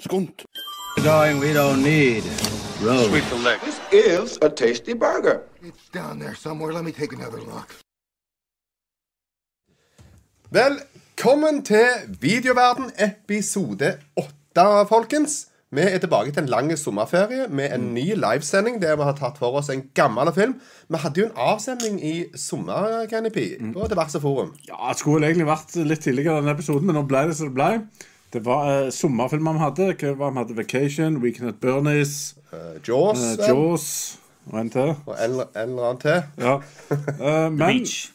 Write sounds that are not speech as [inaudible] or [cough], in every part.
skunt. Going, we don't need roads. Sweep the leg. This is a tasty burger. It's down there somewhere. Let me take another look. Velkommen til Videoverden episode 8, folkens. Vi er tilbake til en lang sommerferie med en ny livesending der vi har tatt for oss en gammel film. Vi hadde jo en avsending i sommer, Canopy, på diverse forum. Ja, det skulle vel egentlig vært litt tidligere denne episoden, men nå ble det som det ble. Det var eh, sommerfilmer vi hadde. Hva var det vi hadde? Vacation, Weekend at Bernies, Eh, Jaws, eh, vel? Jaws og en til. og en, eller- en eller annen til. Ja. Eh, men, Beach.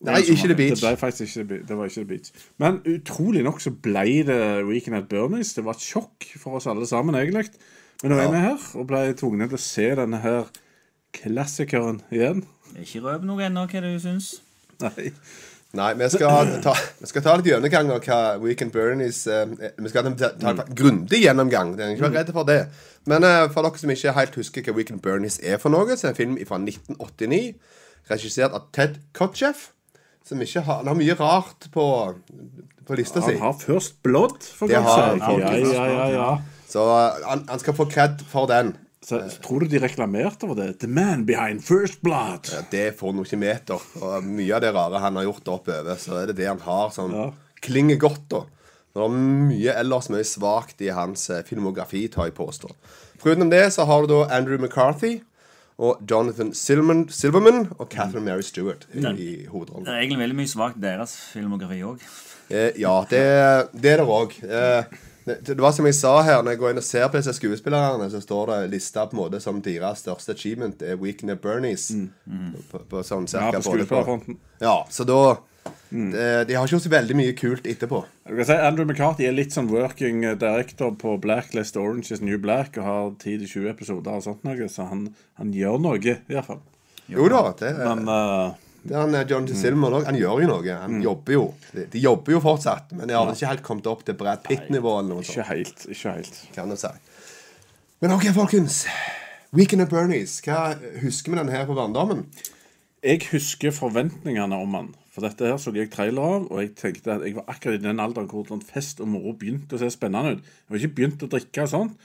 Nei, ikke The Beach. Det ble faktisk ikke The Beach. Det var ikke The Beach. Men utrolig nok så ble det Weekend at Bernies. Det var et sjokk for oss alle sammen, egentlig. Men nå er vi her, og ble tvungne til å se denne her klassikeren igjen. Ikke røp noe ennå, hva du syns. Nei. Nei, vi skal ta, vi skal ta litt gjennomgang av hva Weekend Bernies eh, Vi skal ta, ta Mm. en grundig gjennomgang. Jeg er ikke redd for det. Men eh, for dere som ikke helt husker hva Weekend Bernies er for noe, så er det en film fra 1989 regissert av Ted Kotcheff. Som ikke har Han har mye rart på, på lista si. Han har først blod, for Det å har si. han Ja, faktisk. ja, ja, ja. Så eh, han, han skal få cred for den. Så, tror du de reklamerte for det? The man behind first blood. Ja, det får han jo ikke meter. Og mye av det rare han har gjort der oppover, så er det det han har som Ja. klinger godt. da. Det er mye ellers mye svakt i hans eh, filmografi, tar jeg påstå. Foruten det så har du da Andrew McCarthy og Jonathan Silverman, Silverman og Catherine Mary Stewart i, i Det hovedrollen. er egentlig veldig mye svakt deres filmografi òg. Eh, ja, det, det er det òg. Eh, det, det var som jeg sa her, når jeg går inn og ser på disse skuespillerne, så står det lista på en måte som deres største achievement er Weekend at Bernies. På, på sånn Mm, Ja, på cirka både skuespillerfronten. Mm. ja, så da de, de har ikke gjort så veldig mye kult etterpå. Du kan si Andrew McCarthy er litt sånn working director på Blacklist Orange is the New Black og har 10-20 episoder og sånt noe, så han, han gjør noe, i hvert fall. Jo da, det, Men Mm. eh, det er han eh, John Silman òg. Han gjør jo noe. Han jobber jo. De, de jobber jo fortsatt, men de har vel ikke helt kommet opp til Brad Pitt-nivå eller noe sånt. ikke helt. Ikke helt. Kan du si. Men OK, folkens. Weekend at Bernies. Hva husker vi den her på barndommen? Jeg husker forventningene om han. For dette her så jeg trailer av, og jeg tenkte at jeg var akkurat i den alderen hvor sånn fest og moro begynte å se spennende ut. Jeg var ikke begynt å drikke og sånt,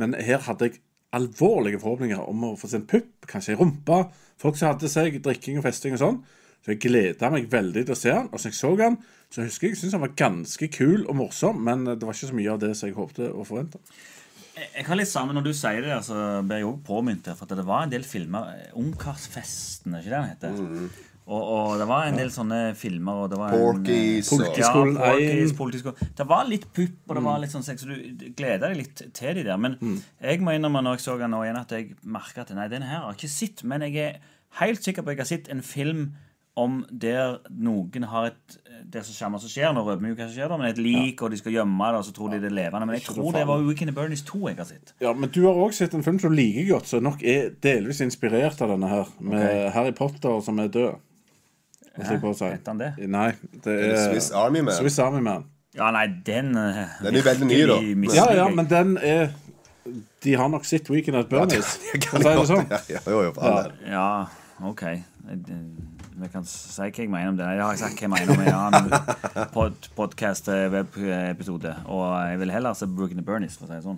men her hadde jeg alvorlige forhåpninger om å få se en pupp, kanskje ei rumpe. Folk som hadde seg drikking og festing og sånn. Så jeg gleda meg veldig til å se han, og så jeg så han, så husker jeg jeg syntes han var ganske kul og morsom, men det var ikke så mye av det som jeg håpte og forventa. Jeg jeg har litt sammen når du sier det, der, så blir jeg også påminnet her, For at det var en del filmer eh, Ungkarsfesten, er ikke det den heter? Og, og det var en del sånne filmer og det var Porky's en, eh, og- ja, Politiskolen Porky's, Ein. Politiskolen Det var litt pupp og det var litt sånn sex, så du gleda deg litt til de der. Men jeg må innrømme når jeg så den nå igjen, at jeg merka at nei, den her har jeg ikke sett. Men jeg er helt sikker på at jeg har sett en film om der noen har et det som skjer, som skjer, nå røper vi jo hva som skjer da, men et lik, og de skal gjemme det, og så tror de det er levende. Men jeg Ikke tror for det var faen. Weekend at Bernies 2 jeg har sett. Ja, men du har òg sett en film som du liker godt, som nok er delvis inspirert av denne her. Med Harry Potter som er død. Hva skal jeg på å si? Heter han det? Nei, det er, Swiss Army Man. Eh, Swiss Army Man. Ja, nei, den eh, Den er veldig ny, da. virkelig mister Ja, ja, jeg. men den er De har nok sett Weekend at [laughs] Bernies. for å si det sånn. Ja, jo, jo, for all del. Ja, OK. eh, Vi kan si hva jeg mener om det. Jeg har sagt hva jeg mener om en [laughs] annen pod podcast-web-episode. Og jeg vil heller se Brooken and Bernies, for å si det sånn.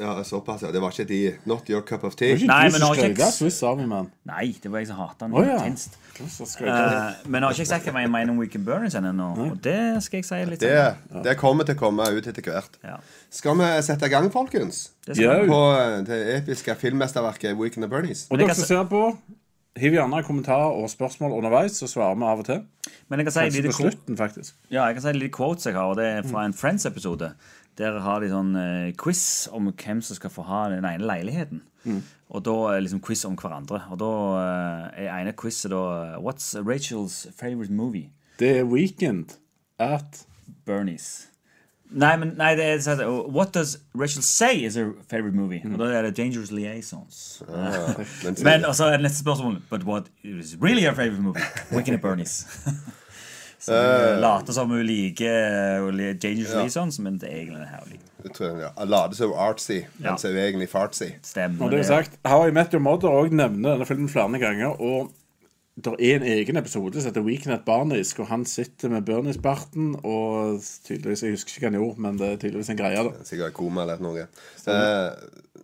ja, såpass, ja. Det var ikke de Not your cup of tea. Det er ikke Nei, du men som har skrev ikke- det, Swiss Army Man. Nei, det var jeg som hatet den Å, ja. intenst. Så skrev jeg det. Eh, men jeg har ikke sagt hva jeg mener om Weekend Bernies ennå, og det skal jeg si litt Det, senere. det kommer til å komme ut etter hvert. Ja. Skal vi sette i gang, folkens? Det skal Ja. vi. På eh, det episke filmmesterverket Weekend of Bernies. Og jeg dere kan som se- ser på, hiv gjerne kommentarer og spørsmål underveis, så svarer vi av og til. Men jeg kan si et Kanskje lite på kort slutten, faktisk. Ja, jeg kan si et lite quotes jeg har, og det er fra en Friends-episode. Der har de sånn eh, quiz om hvem som skal få ha den ene leiligheten. Og da er det liksom quiz om hverandre. Og da eh, er ene quizet da eh, What's Rachel's favorite movie? Det er Weekend at Bernies. Nei, men nei, det er sånn at, oh, What does Rachel say is her favorite movie? Og da er det Dangerous Liaisons. Men, [laughs] Men og så er det neste spørsmål But what is really her favorite movie? Weekend at [laughs] Bernies. Så Eh, hun later som hun liker eh, hun liker Dangerous Liaisons, men det er egentlig den her hun liker. jeg tror, ja, Lade som artsy, Ja. men så er jo egentlig fartsy. Stemmer Og det er jo sagt, How I Met Your Mother også nevner denne filmen flere ganger. Og der er en egen episode som heter Weekend at Barnisk, og han sitter med Bernice-barten og tydeligvis, Jeg husker ikke hva han gjorde, men det er tydeligvis en greie. da. Sikkert koma eller noe. Eh,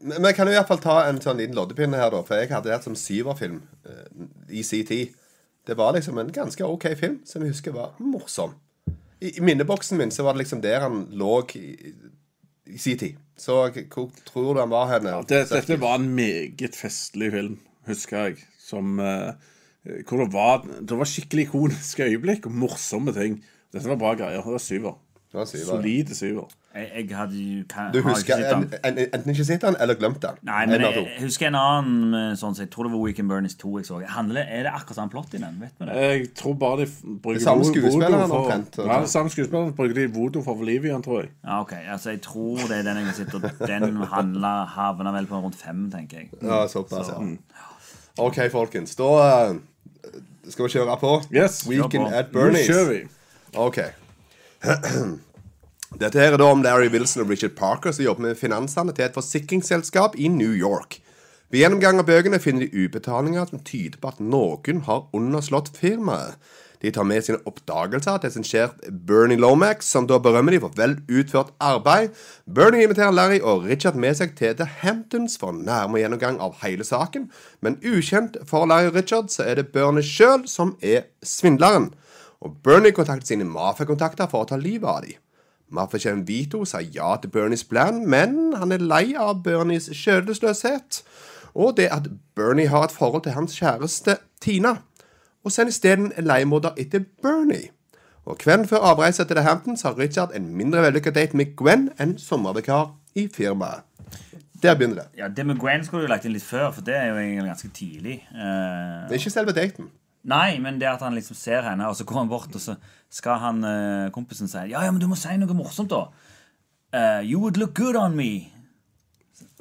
men men kan du iallfall ta en sånn liten loddepinne her, da? For jeg hadde det her som syverfilm eh, i sin tid. Det var liksom en ganske OK film, som jeg husker var morsom. I, i minneboksen min så var det liksom der han lå i, i sin tid. Så k- hvor tror du han var henne? Det, dette var en meget festlig film, husker jeg. Som, eh, hvor det var, det var skikkelig ikoniske øyeblikk og morsomme ting. Dette var bra greier. Det var syver. Det var en syver, ja. Solide syver. Jeg, jeg hadde jo kan, Du har jo husker ikke sett en, den. en, enten ikke sett han, eller glemt han. Nei, En men av jeg, jeg husker en annen eh, sånn som jeg tror det var Weekend Burnies 2 jeg så. Handler, er det akkurat samme plott i den? Vet vi det? Jeg tror bare de f- bruker samme vo- skuespilleren voodoo for- omtrent, og- Ja, det samme skuespilleren bruker de voodoo for Bolivian, tror jeg. Ja, ok, altså Jeg tror det er den jeg har sett, og den handla, havna vel på rundt fem, tenker jeg. to. Ja, såpass, ja. Mm. OK, folkens. Da eh, skal vi kjøre på. Yes, kjør Weekend på. at Nå Bernies. kjører vi. Ok. Dette her er da om Larry Wilson og Richard Parker som jobber med finansene til et forsikringsselskap i New York. Ved gjennomgang av bøkene finner de utbetalinger som tyder på at noen har underslått firmaet. De tar med sine oppdagelser til sin sjef Bernie Lomax, som da berømmer de for vel utført arbeid. Bernie inviterer Larry og Richard med seg til The Hamptons for en nærmere gjennomgang av hele saken, men ukjent for Larry og Richard så er det Bernie sjøl som er svindleren. Og Bernie kontaktet sine mafiakontakter for å ta livet av dem. Mafiakjeden Vito sa ja til Bernies plan, men han er lei av Bernies skjødesløshet og det at Bernie har et forhold til hans kjæreste Tina, og sender isteden en leiemorder etter Bernie. Og kvelden før avreise til The Hamptons har Richard en mindre vellykket date med Gwen, en sommervikar i firmaet. Der begynner det. Ja, Det med Gwen skulle du lagt inn litt før, for det er jo egentlig ganske tidlig. Eh, Det er ikke selve daten. Nei, men det at han liksom ser henne, og så går han bort, og så skal han eh, kompisen si Ja, ja, men du må si noe morsomt, da. Eh, you would look good on me.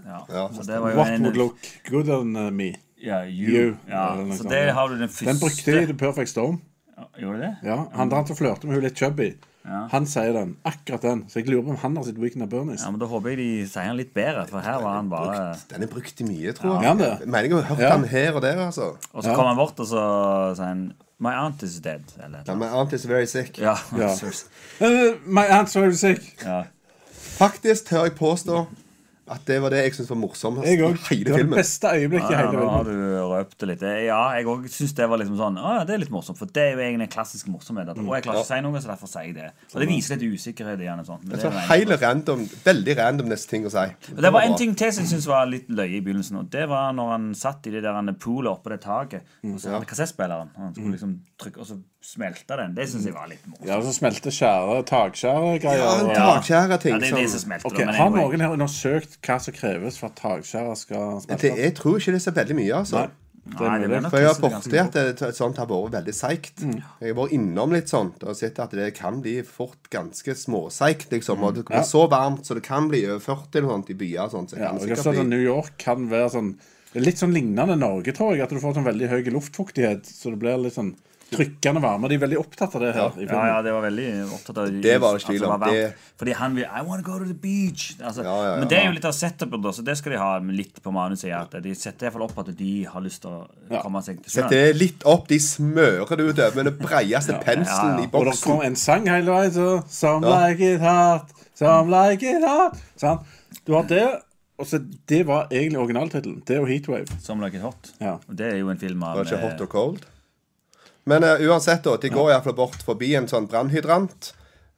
Ja, Ja. så det var jo What en would look good on uh, me? ja, you. You. Ja, Eller noe så sånt, det ja. har du den første Den brukte de i The Perfect Storm. Gjorde du det? Ja, Han der som flørter med hun litt chubby, han sier den. Akkurat den. Så jeg lurer på om han har sitt Weekend at Bernies. Ja, men Da håper jeg de sier han litt bedre, for her var han bare Brukt, den er brukt i mye, tror Ja, jeg. han det. Jeg mener jeg har hørt Ja. han her og der, altså. Og så kom han bort, og så sier han My aunt is dead. Eller Ja, My aunt is very sick. Ja. [laughs] Ja. seriøst. Eh, my aunt's very sick. Faktisk tør jeg påstå at det var det jeg syntes var morsomt Jeg òg. i Det hele var det filmen. beste øyeblikket i Ja, hele nå har verden. du røpt det litt. Ja, jeg òg syns det var liksom sånn Å, ja, det er litt morsomt. For det er jo egentlig en klassisk Mm, morsomhet. At, å, jeg klarer ikke å si noe, så derfor sier jeg det. Og Sånn, det viser litt usikkerhet i han. og sånt, men det Så er jo egentlig- hele random, veldig random neste ting å si. Men det var en bra. ting til som jeg syntes var litt løye i begynnelsen. Og det var når han satt i det der han poolet oppå det taket, Mm, og så hadde kassettspilleren. og Han skulle liksom trykke, og så smelta den. Det Mm. syns jeg var litt morsomt. Ja, så smelte skjære, Ja, takskjæregreier. en og- takskjære ting Ja, det er det som som smelter. Ok, da, men Har anyway. noen her undersøkt hva som kreves for at takskjærer skal det, smelte? Jeg tror ikke det er så veldig mye, altså. Nei, det er Nei, det mulig. var nok For jeg har ganske- borti at det- et sånt har vært veldig seigt. Mm. Jeg har vært innom litt sånt og sett at det kan bli fort ganske småseigt. Liksom. Og det kommer så varmt så det kan bli over 40 eller noe sånt i byer. og Sånt, så det Ja, kan og jeg sikkert så at bli New York kan være sånn det er Litt sånn lignende Norge, tror jeg. At du får sånn veldig høy luftfuktighet. Så det blir litt sånn trykkende varme. De er veldig opptatt av det her. i Ja, filmen. ja, det var veldig opptatt av Det var det ikke tvil om. var varmt. Det- Fordi han vil I wanna go to the beach. Ja, Altså, ja, ja. men det er jo litt av setupet, da, så det skal de ha med litt på manuset. At de setter i hvert fall opp at de har lyst til å komme seg til Sett det litt opp. De smører det utover med den breieste penselen ja. i Og det boksen. kom en sang hele veien så Some like it hot, some like it hot sånn. Du har det, og så det var egentlig originaltittelen. Det og Heatwave. Som Like It Hot. Ja. Og det er jo en film av Var det ikke eh, hot og cold? Men eh, uansett, da, de går i hvert fall bort forbi en sånn brannhydrant.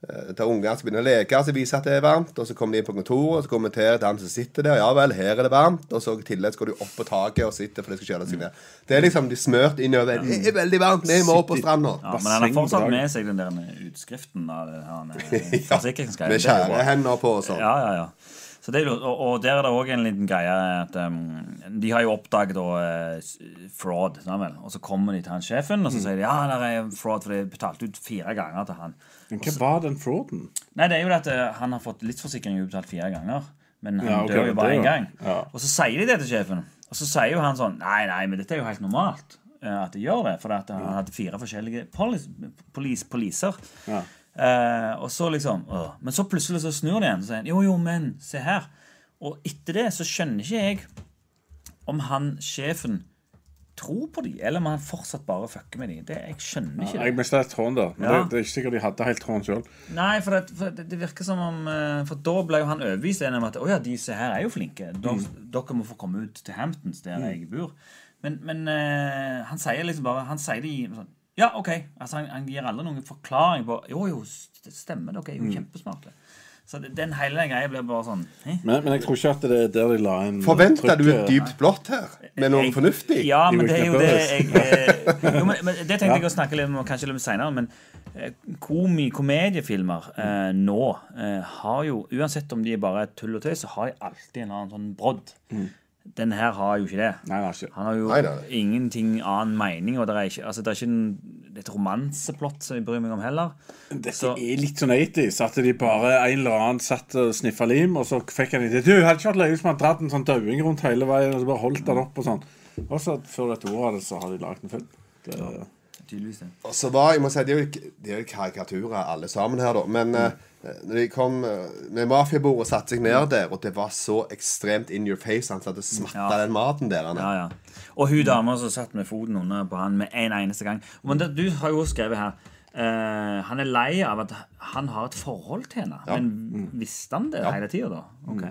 eh, der unger skal begynne å leke, så viser at det er varmt. Og så kommer de inn på kontoret og så kommenterer til han som sitter der. Ja vel, her er det varmt. Og så i tillegg så går de opp på taket og sitter for det skal kjøle seg ned. Det er liksom de smørt innover. Det er veldig varmt, vi må opp på stranda. ja, Men han har basseng på fortsatt dagen. med seg den der utskriften av den her, eh, [laughs] Ja, forsikringsgreia. med Det er jo bra. skjære hender på og sånn. Ja, ja, ja. Så det, er jo- og, og der er det òg en liten greie at um, De har jo oppdaget da, eh, s- fraud. sant vel? Og så kommer de til han sjefen og så sier de, ja, der er fraud, for de betalte ut fire ganger til han. Men hva var den frauden? Nei, det er jo det at eh, han har fått livsforsikring utbetalt fire ganger. Men han Ja, ok, dør jo bare det, én ja. gang. Ja. Og så sier de det til sjefen. Og så sier jo han sånn Nei, nei, men dette er jo helt normalt eh, at de gjør det. For at han hadde fire forskjellige police, police, policer. Eh, og så liksom «Åh». Men så plutselig så snur de igjen og sier han, Jo, jo, men se her. Og etter det så skjønner ikke jeg om han sjefen tror på de, eller om han fortsatt bare fucker med de. Det, jeg skjønner ikke det. Jeg mistet et tårn der. Men Ja. det, det er ikke sikkert de hadde helt tårn sjøl. Nei, for det, for det, det virker som om eh, For da ble jo han overbevist enig om at å ja, disse her er jo flinke. Da, Dere må få komme ut til Hamptons, der jeg bor. Men, men eh, han sier liksom bare Han sier det i sånn Ja, OK. Altså, han, han gir aldri noen forklaring på Jo, jo, s- det stemmer, dere er jo kjempesmarte. Så det, den hele greia blir bare sånn eh? Men, men jeg tror ikke at det er der de la inn Forventer du et trykket. dypt blått her? Med noe Jeg- fornuftig? Ja, i men det er jo det jeg Weekend eh, jo, men, men Det tenkte jeg å snakke litt om kanskje litt senere, men eh, komi, komediefilmer eh, nå eh, har jo, uansett om de bare er tull og tøys, så har de alltid en eller annen sånn brodd. Den her har jo ikke det. Mm. Nei, det er ikke. Han har jo Nei, nei, nei. ingenting annen mening, og det er ikke, altså, det er ikke en, et romanseplott som jeg bryr meg om heller. Dette Så- er litt sånn 80s. At de bare en eller annen satt og sniffa lim, og så fikk han idé. Du, hadde ikke vært løye hvis man hadde dratt en sånn dauing rundt hele veien, og så bare holdt han opp og sånn. Og så før dette ordet av det, så har de lagd en film. Det, Tydeligvis det. Og så var, jeg må si, Det er jo, det er jo karikaturer alle sammen her, da. Men eh, når de kom eh, med mafiabordet og satte seg ned der, og det var så ekstremt in your face Han satt og smatta Ja. den maten der. Han. Ja, ja. Og hun dama som satt med foten under på han med en eneste gang. Men det, du har jo skrevet her eh, Han er lei av at han har et forhold til henne. Mm. Men visste han det hele tida, da? Ok.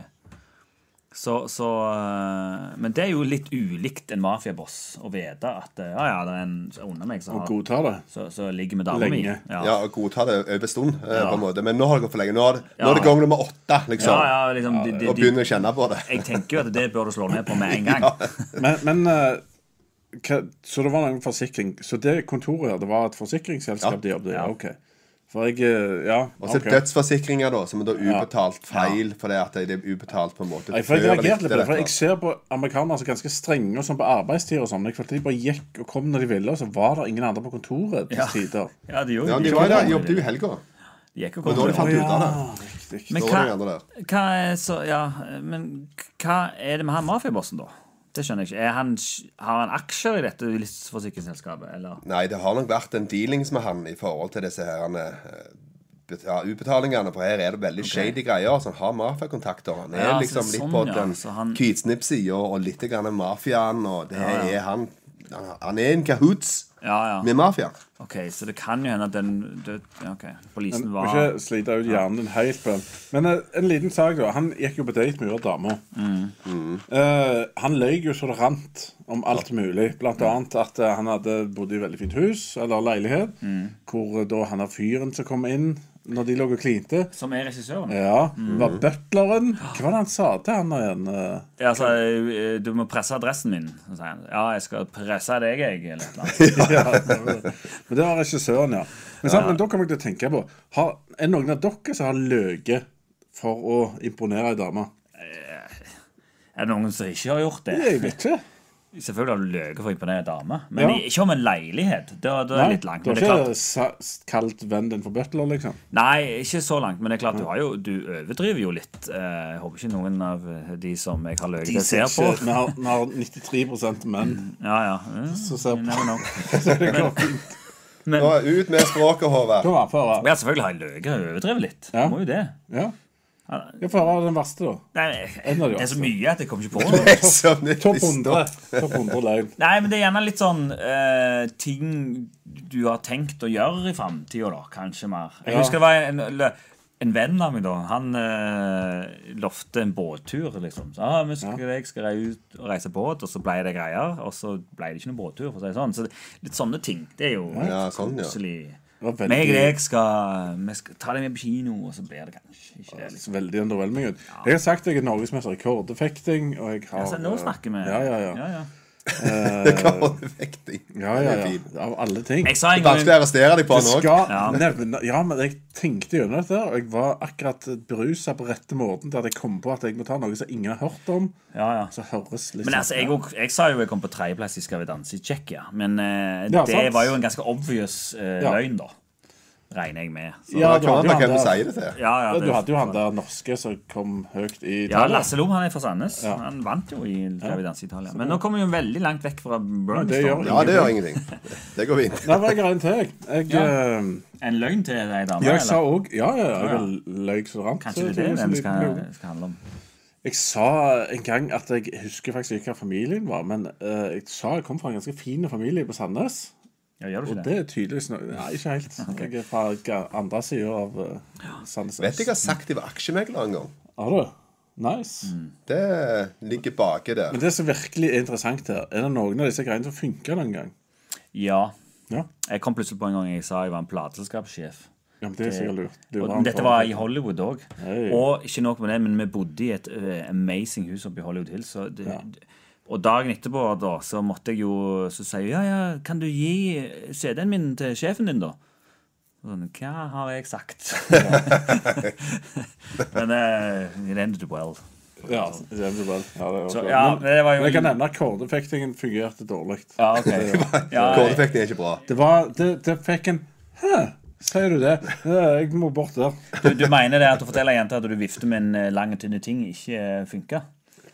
Så, så eh, Men det er jo litt ulikt en mafiaboss å vite at eh, ja, ja, det er en som er under meg som og har- godta det. så, så ligger med dama mi. Lenge. Ja. Ja. ja, og godta det over stund, eh, Ja. på en måte. Men nå har det gått for lenge. Nå er det, nå er det Ja. gang nummer åtte, liksom. Ja, ja, liksom, de, de, og de, begynner å kjenne på det. jeg [laughs] tenker jo at det bør du slå ned på med en gang. Men, men eh, hva, Så det var noen forsikring. Så det kontoret her, det var et forsikringsselskap Ja. de jobbet i? Ja, OK. For jeg eh, Ja. Og så ok. dødsforsikringer, da, som er da ubetalt feil. Fordi at det er ubetalt på en måte Nei, for jeg før reagerte litt på det. For jeg dette. ser på amerikanere som er ganske strenge og sånn på arbeidstid og sånn. men Jeg følte de bare gikk og kom når de ville, og så var det ingen andre på kontoret til Ja. tider. Ja, de, gjorde Ja, jo- de var der, de jobbet jo i helga. De gikk Og og da kom de til- fant ut av det. Riktig. Men Da hva, var det andre der. hva, er så, ja, men hva er det med han mafiabossen, da? Det skjønner jeg ikke. Er han, har han aksjer i dette livsforsikringsselskapet? Eller? Nei, det har nok vært en dealings med han i forhold til disse her eh, bet- ja, utbetalingene. For her er det veldig shady greier. Så han har mafiakontakter. Han er Ja, så liksom det er litt sånn, på ja. den Så han- hvitsnippsida og litt grann mafiaen. Og det her er han han- Han er en kahoots Ja, ja. med mafiaen. Ok, Så det kan jo hende at den det, ja, ok. Polisen Må var ikke slite ut hjernen din helt på den. Men eh, en liten sak, da. Han gikk jo på date med hun dama. Eh, han løy jo så det rant om alt mulig. Blant annet at eh, han hadde bodd i veldig fint hus, eller leilighet, hvor eh, da han av fyren som kom inn når de lå og klinte Som er regissøren? Ja, ja, var butleren Hva var det han sa til han igjen? eh? [laughs] altså, eh, Du må presse adressen min, så sier han. Ja, jeg skal presse deg, jeg, eller et eller [laughs] annet. ja, men det var regissøren, ja. Men, sant, men da kommer jeg til å tenke på har, Er noen av dere som har løyet for å imponere ei dame? Er det noen som ikke har gjort det? Jeg vet ikke. Selvfølgelig har du løyet for å imponere en dame, men Ja. i- ikke om en leilighet. Da, da er det litt langt. du Men har det er klart, ikke sa- kalt vennen din for butler, liksom? Nei, ikke så langt, men det er klart du, har jo, du overdriver jo litt. Eh, Jeg håper ikke noen av eh, de som jeg har løyet til, ser Ikke- på. Vi har, vi har 93 menn Ja, ja. Mm, som ser you på. never know. [laughs] Så det går fint. Nå ut med språket, Håvard. Kom her, få høre. Ja, selvfølgelig har jeg løyet og overdrevet litt. Ja. Må jo det. Ja. Ja, Få høre den verste, da. Nei, En av de det er verste. så mye at jeg [laughs] kommer ikke på noe. [laughs] Som det Topp visste. 100. Topp 100 løgn. Nei, men det er gjerne litt sånn eh, ting du har tenkt å gjøre i framtida, da. Kanskje mer. Jeg Ja. husker det var en, eller en venn av meg, da. Han eh, lovte en båttur, liksom. Så, ah, vi skal, jeg skal rei ut og reise båt, og så ble det greier. Og så ble det ikke noen båttur, for å si det sånn. Så det, litt sånne ting. Det er jo Ja, sånn, ja. koselig. Det var veldig- Meg og deg skal, vi skal ta deg med på kino, og så blir det kanskje ikke det. Det Liksom. ser veldig underwhelming ut. Jeg har sagt jeg er norgesmester i kordefekting, og jeg har Altså, nå snakker vi. Ja, ja, ja. Ja, ja. Det kan være vektig. Ja, ja, ja. Av alle ting. Jeg sa en gang Vanskelig å arrestere dem på Det han òg. skal Ja. nevne Ja, men jeg tenkte gjennom dette, og jeg var akkurat berusa på rette måten til at jeg kom på at jeg må ta noe som ingen har hørt om. ja, ja. Så høres liksom Men altså, jeg, og- jeg sa jo jeg kom på tredjeplass i Skal vi danse i Tsjekkia. Men eh, Ja, det sant. var jo en ganske obvious eh, Ja. løgn, da. Regner jeg med. Så, Ja, Ja, du hadde jo han hvem du der- sier det til. ja, Ja, ja, det, du hadde jo han der norske som kom høyt i ja, tallet. Lasse Lom han er fra Sandnes. Han vant jo i Skal vi danse i Italia. Men nå kommer vi jo veldig langt vekk fra det gjør Burnstorm. vi. Ja, det gjør ingenting. Det går fint. Nei, men jeg har en til, jeg. Jeg, Ja. eh, En løgn til deg, dame? jeg sa eller? òg Ja, ja, jeg Ja, ja. har løy så det rant. så Kanskje det er jeg tok det en den liten skal, løgn. skal handle om? Jeg sa en gang at jeg husker faktisk ikke hva familien var, men eh, jeg sa jeg kom fra en ganske fin familie på Sandnes. Ja, gjør du Og ikke det? det er tydeligvis noe Nei, ikke helt. [laughs] Jeg er fra ga- andre sida av uh, Sandnes. Vet du jeg har sagt jeg var aksjemegler en gang? Har du? Nice. Mm. Det ligger baki der. Men det som virkelig er interessant her, er det noen av disse greiene som funker noen gang? Ja. Ja. Jeg kom plutselig på en gang jeg sa jeg var en plateselskapssjef. ja men det er sikkert lurt. Du Eh, Og var en dette form- var i Hollywood òg. Hei. Og ikke nok med det, men vi bodde i et eh, amazing hus oppe i Hollywood Hills. Og, det, og dagen etterpå da, så måtte jeg jo Så sier jeg ja, ja, kan du gi CD-en min til sjefen din, da? Og Sånn, Hva har [laughs] jeg sagt? men eh, it ended well. Ja, det er vel- ja, det, Altså. Så, var ja, men, det var jo men jeg kan nevne at kordeffektingen fungerte dårlig. Ja, ok. Ja, Kåreffekten er ikke bra. Det, var, det, det fikk en Hæ, sier du det? Ja, Jeg må bort der. du, du mener det at å fortelle ei jente at du vifter med en eh, lang, tynn ting, ikke eh, funker?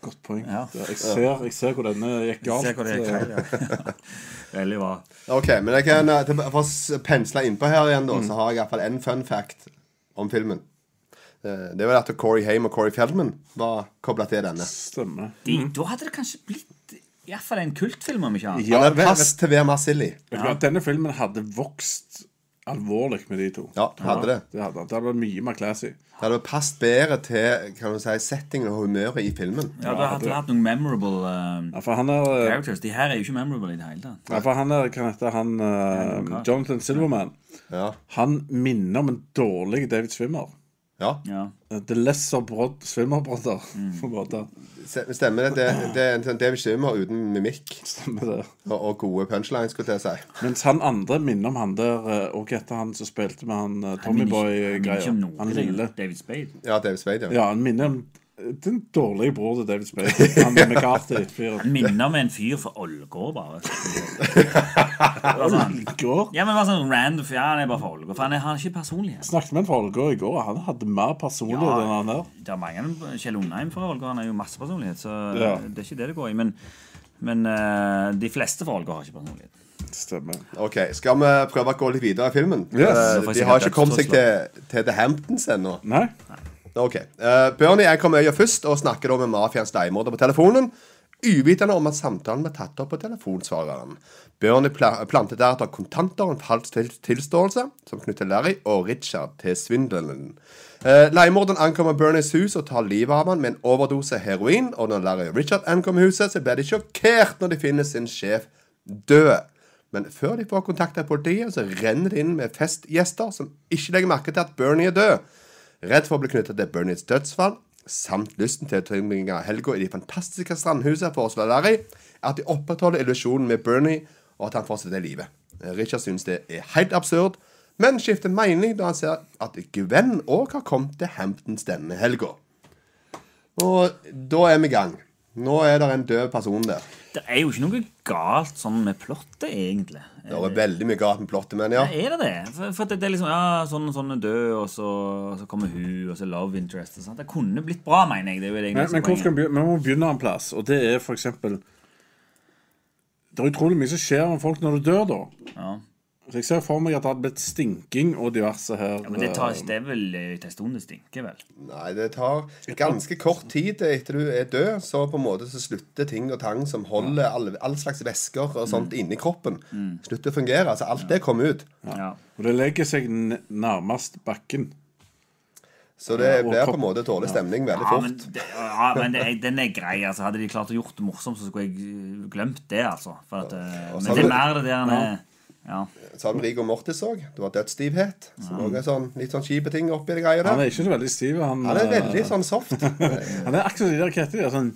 Godt poeng. Ja. Jeg, ser, jeg ser hvor denne gikk galt. Se hvor det gikk eh, feil, ja. [laughs] Veldig bra. Ok, men jeg kan eh, til- For å s- pensle innpå her igjen, da, så har jeg iallfall én fun fact om filmen. Eh, Det var at Corey Haim og Corey Feldman var kobla til denne. Stemmer. De, Da hadde det kanskje blitt i hvert fall en kultfilm, om ikke annet. Han Ja, er vet- pass til Vera Marsilli. Vet du hva, Denne filmen hadde vokst alvorlig med de to. Ja, den hadde det. Det hadde han. Det hadde vært mye mer classy. Det hadde passet bedre til kan du si, settingen og humøret i filmen. Ja, da hadde det hatt noen memorable eh, Ja, for han er eh, characters. De her er jo ikke memorable i det hele tatt. ja, for han er, kan hete han eh, Jonathan Silverman. Ja. Han minner om en dårlig David Swimmer. ja. Ja. Eh, The Lesser Brod Swimmer Brother, Mm. på en måte. Se- Stemmer det. Det, det er en sånn David Schwimmer uten mimikk [laughs] Stemmer det. og, og gode punchlines, skulle jeg til å si. Mens han andre minner om han der eh, Og hva heter han som spilte med han eh, Han minner ikke- Tommyboy-greia? Han, minner Han, ikke om noe, lille. David Spade. Ja, David Spade, ja. Ja, han minner om eh, den dårlige bror til David Spade. Han [laughs] McCarthy-fyren. Han minner om en fyr fra Ålgård, bare. [laughs] Bare sånn. I går Ja, men bare sånn random fyr. Ja, han er bare fra Ålgård. For han er, han er ikke personlig. snakket med en fra Ålgård i går, og han hadde mer personlighet Ja. enn han der. Det er mange Kjell Undheim fra Ålgård. Han er jo masse personlighet, så Ja. det er ikke det det går i. Men, men eh, de fleste fra Ålgård har ikke personlighet. Stemmer. Ok, Skal vi prøve å gå litt videre i filmen? Eh, får jeg De sikkert har ikke kommet seg dødstrusler. til, til The Hamptons ennå. Nei? Ok. Eh, Bernie jeg kommer øya først og snakker da med mafiaens leiemorder på telefonen. Uvitende om at samtalen ble tatt opp på telefonsvareren. Bernie pla planter deretter kontanter og en falsk til tilståelse, som knytter Larry og Richard til svindelen. Uh, leiemorderen ankommer Bernies hus og tar livet av han med en overdose heroin. Og når Larry og Richard ankommer huset, så blir de sjokkert når de finner sin sjef død. Men før de får kontakt av politiet, så renner det inn med festgjester som ikke legger merke til at Bernie er død. Redd for å bli knyttet til Bernies dødsfall, samt lysten til å tilbringe helga i de fantastiske strandhusene foreslår Larry at de opprettholder illusjonen med Bernie, og at han fortsetter i live. Richard synes det er helt absurd, men skifter mening da han ser at Gwen òg har kommet til Hamptons denne helga. Og da er vi i gang. Nå er det en død person der. Det er jo ikke noe galt sånn med plottet, egentlig. Det er veldig mye galt med plottet, men ja. Er det det? For, for det, det er liksom ja, sånn, sånn er død, og så, og så kommer hun, og så love interest. Og sånt. det kunne blitt bra, mener jeg. Det er jo det jeg Men, men hvor skal poenget. vi begynne? Vi må begynne en plass, og det er for eksempel Det er utrolig mye som skjer med folk når du dør, da. Ja. Så jeg ser for meg at det hadde blitt stinking og diverse her. Ja, men det, tar, eh, det er vel eh, til en stund det stinker, vel? Nei, det tar ganske kort tid etter du er død, så på en måte så slutter ting og tang som holder alle, all slags væsker og sånt inni kroppen, slutter å fungere. Altså alt det kommer ut. Ja. Og det legger seg n nærmest bakken. Så det og blir på kropp- en måte dårlig stemning veldig Ja, men, fort. det, ja, men det, er- den er grei. altså Hadde de klart å gjort det morsomt, så skulle jeg eh, glemt det, altså. For at, eh, og så men det er hadde- mer det der han er ja. Så har du Sånn Rigor Mortis òg. Det var dødsstivhet. Som også er sånn, litt sånn kjipe ting oppi det greia Han der. er ikke så veldig stiv. Han, Han er eh, veldig sånn soft. [laughs] han er akkurat som de der hva heter de, sånn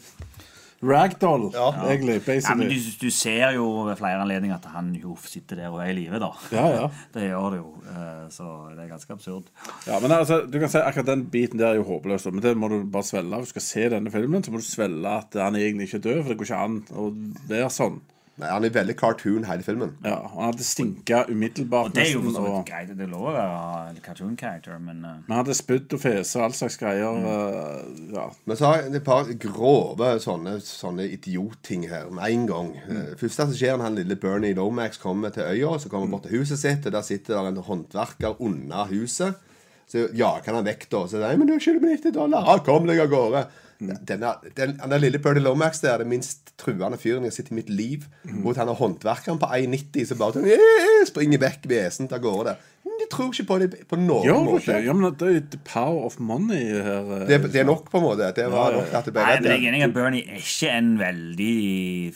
ragdoll, Ja. egentlig. ja, men du, Basically. du ser jo ved flere anledninger at han jo sitter der og er i live, da. Ja, ja. [laughs] Det gjør det jo. eh, Så det er ganske absurd. Ja, men altså, du kan si Akkurat den biten der er jo håpløs, men det må du bare svelge. Hvis du skal se denne filmen, så må du svelge at han egentlig ikke er død, for det går ikke an å være sånn. Nei, han er veldig cartoon hele filmen. Ja, og Han hadde stinka umiddelbart. Og det er jo for så nesten, vidt og- greit. Det er lov å være cartoon character, men eh, Men han hadde spydd og fese og all slags greier. Mm. eh, ja. Men så har jeg et par grove sånne, sånne idiotting her med en gang. Mm. Eh, Første som skjer når han lille Bernie Lomax kommer til øya, så kommer han bort til huset sitt, og der sitter der en håndverker under huset. Så jager han han vekk, da. Så nei, men du skylder meg 90 dollar. Ja, kom deg av gårde. Mm. Denne, den, han der lille Birdie Lomax der er den minst truende fyren jeg har sett i mitt liv. Mm. Mot han er håndverkeren på 1,90 som bare sånn, «Eh», springer vekk vesent av gårde. Men De tror ikke på det på noen Gjør du måte. ikke? Ja, men det er the power of money her. eh. Det, det er nok, på en måte. Det var nok at det ble Nei, men jeg redd. er enig i at Bernie er ikke en veldig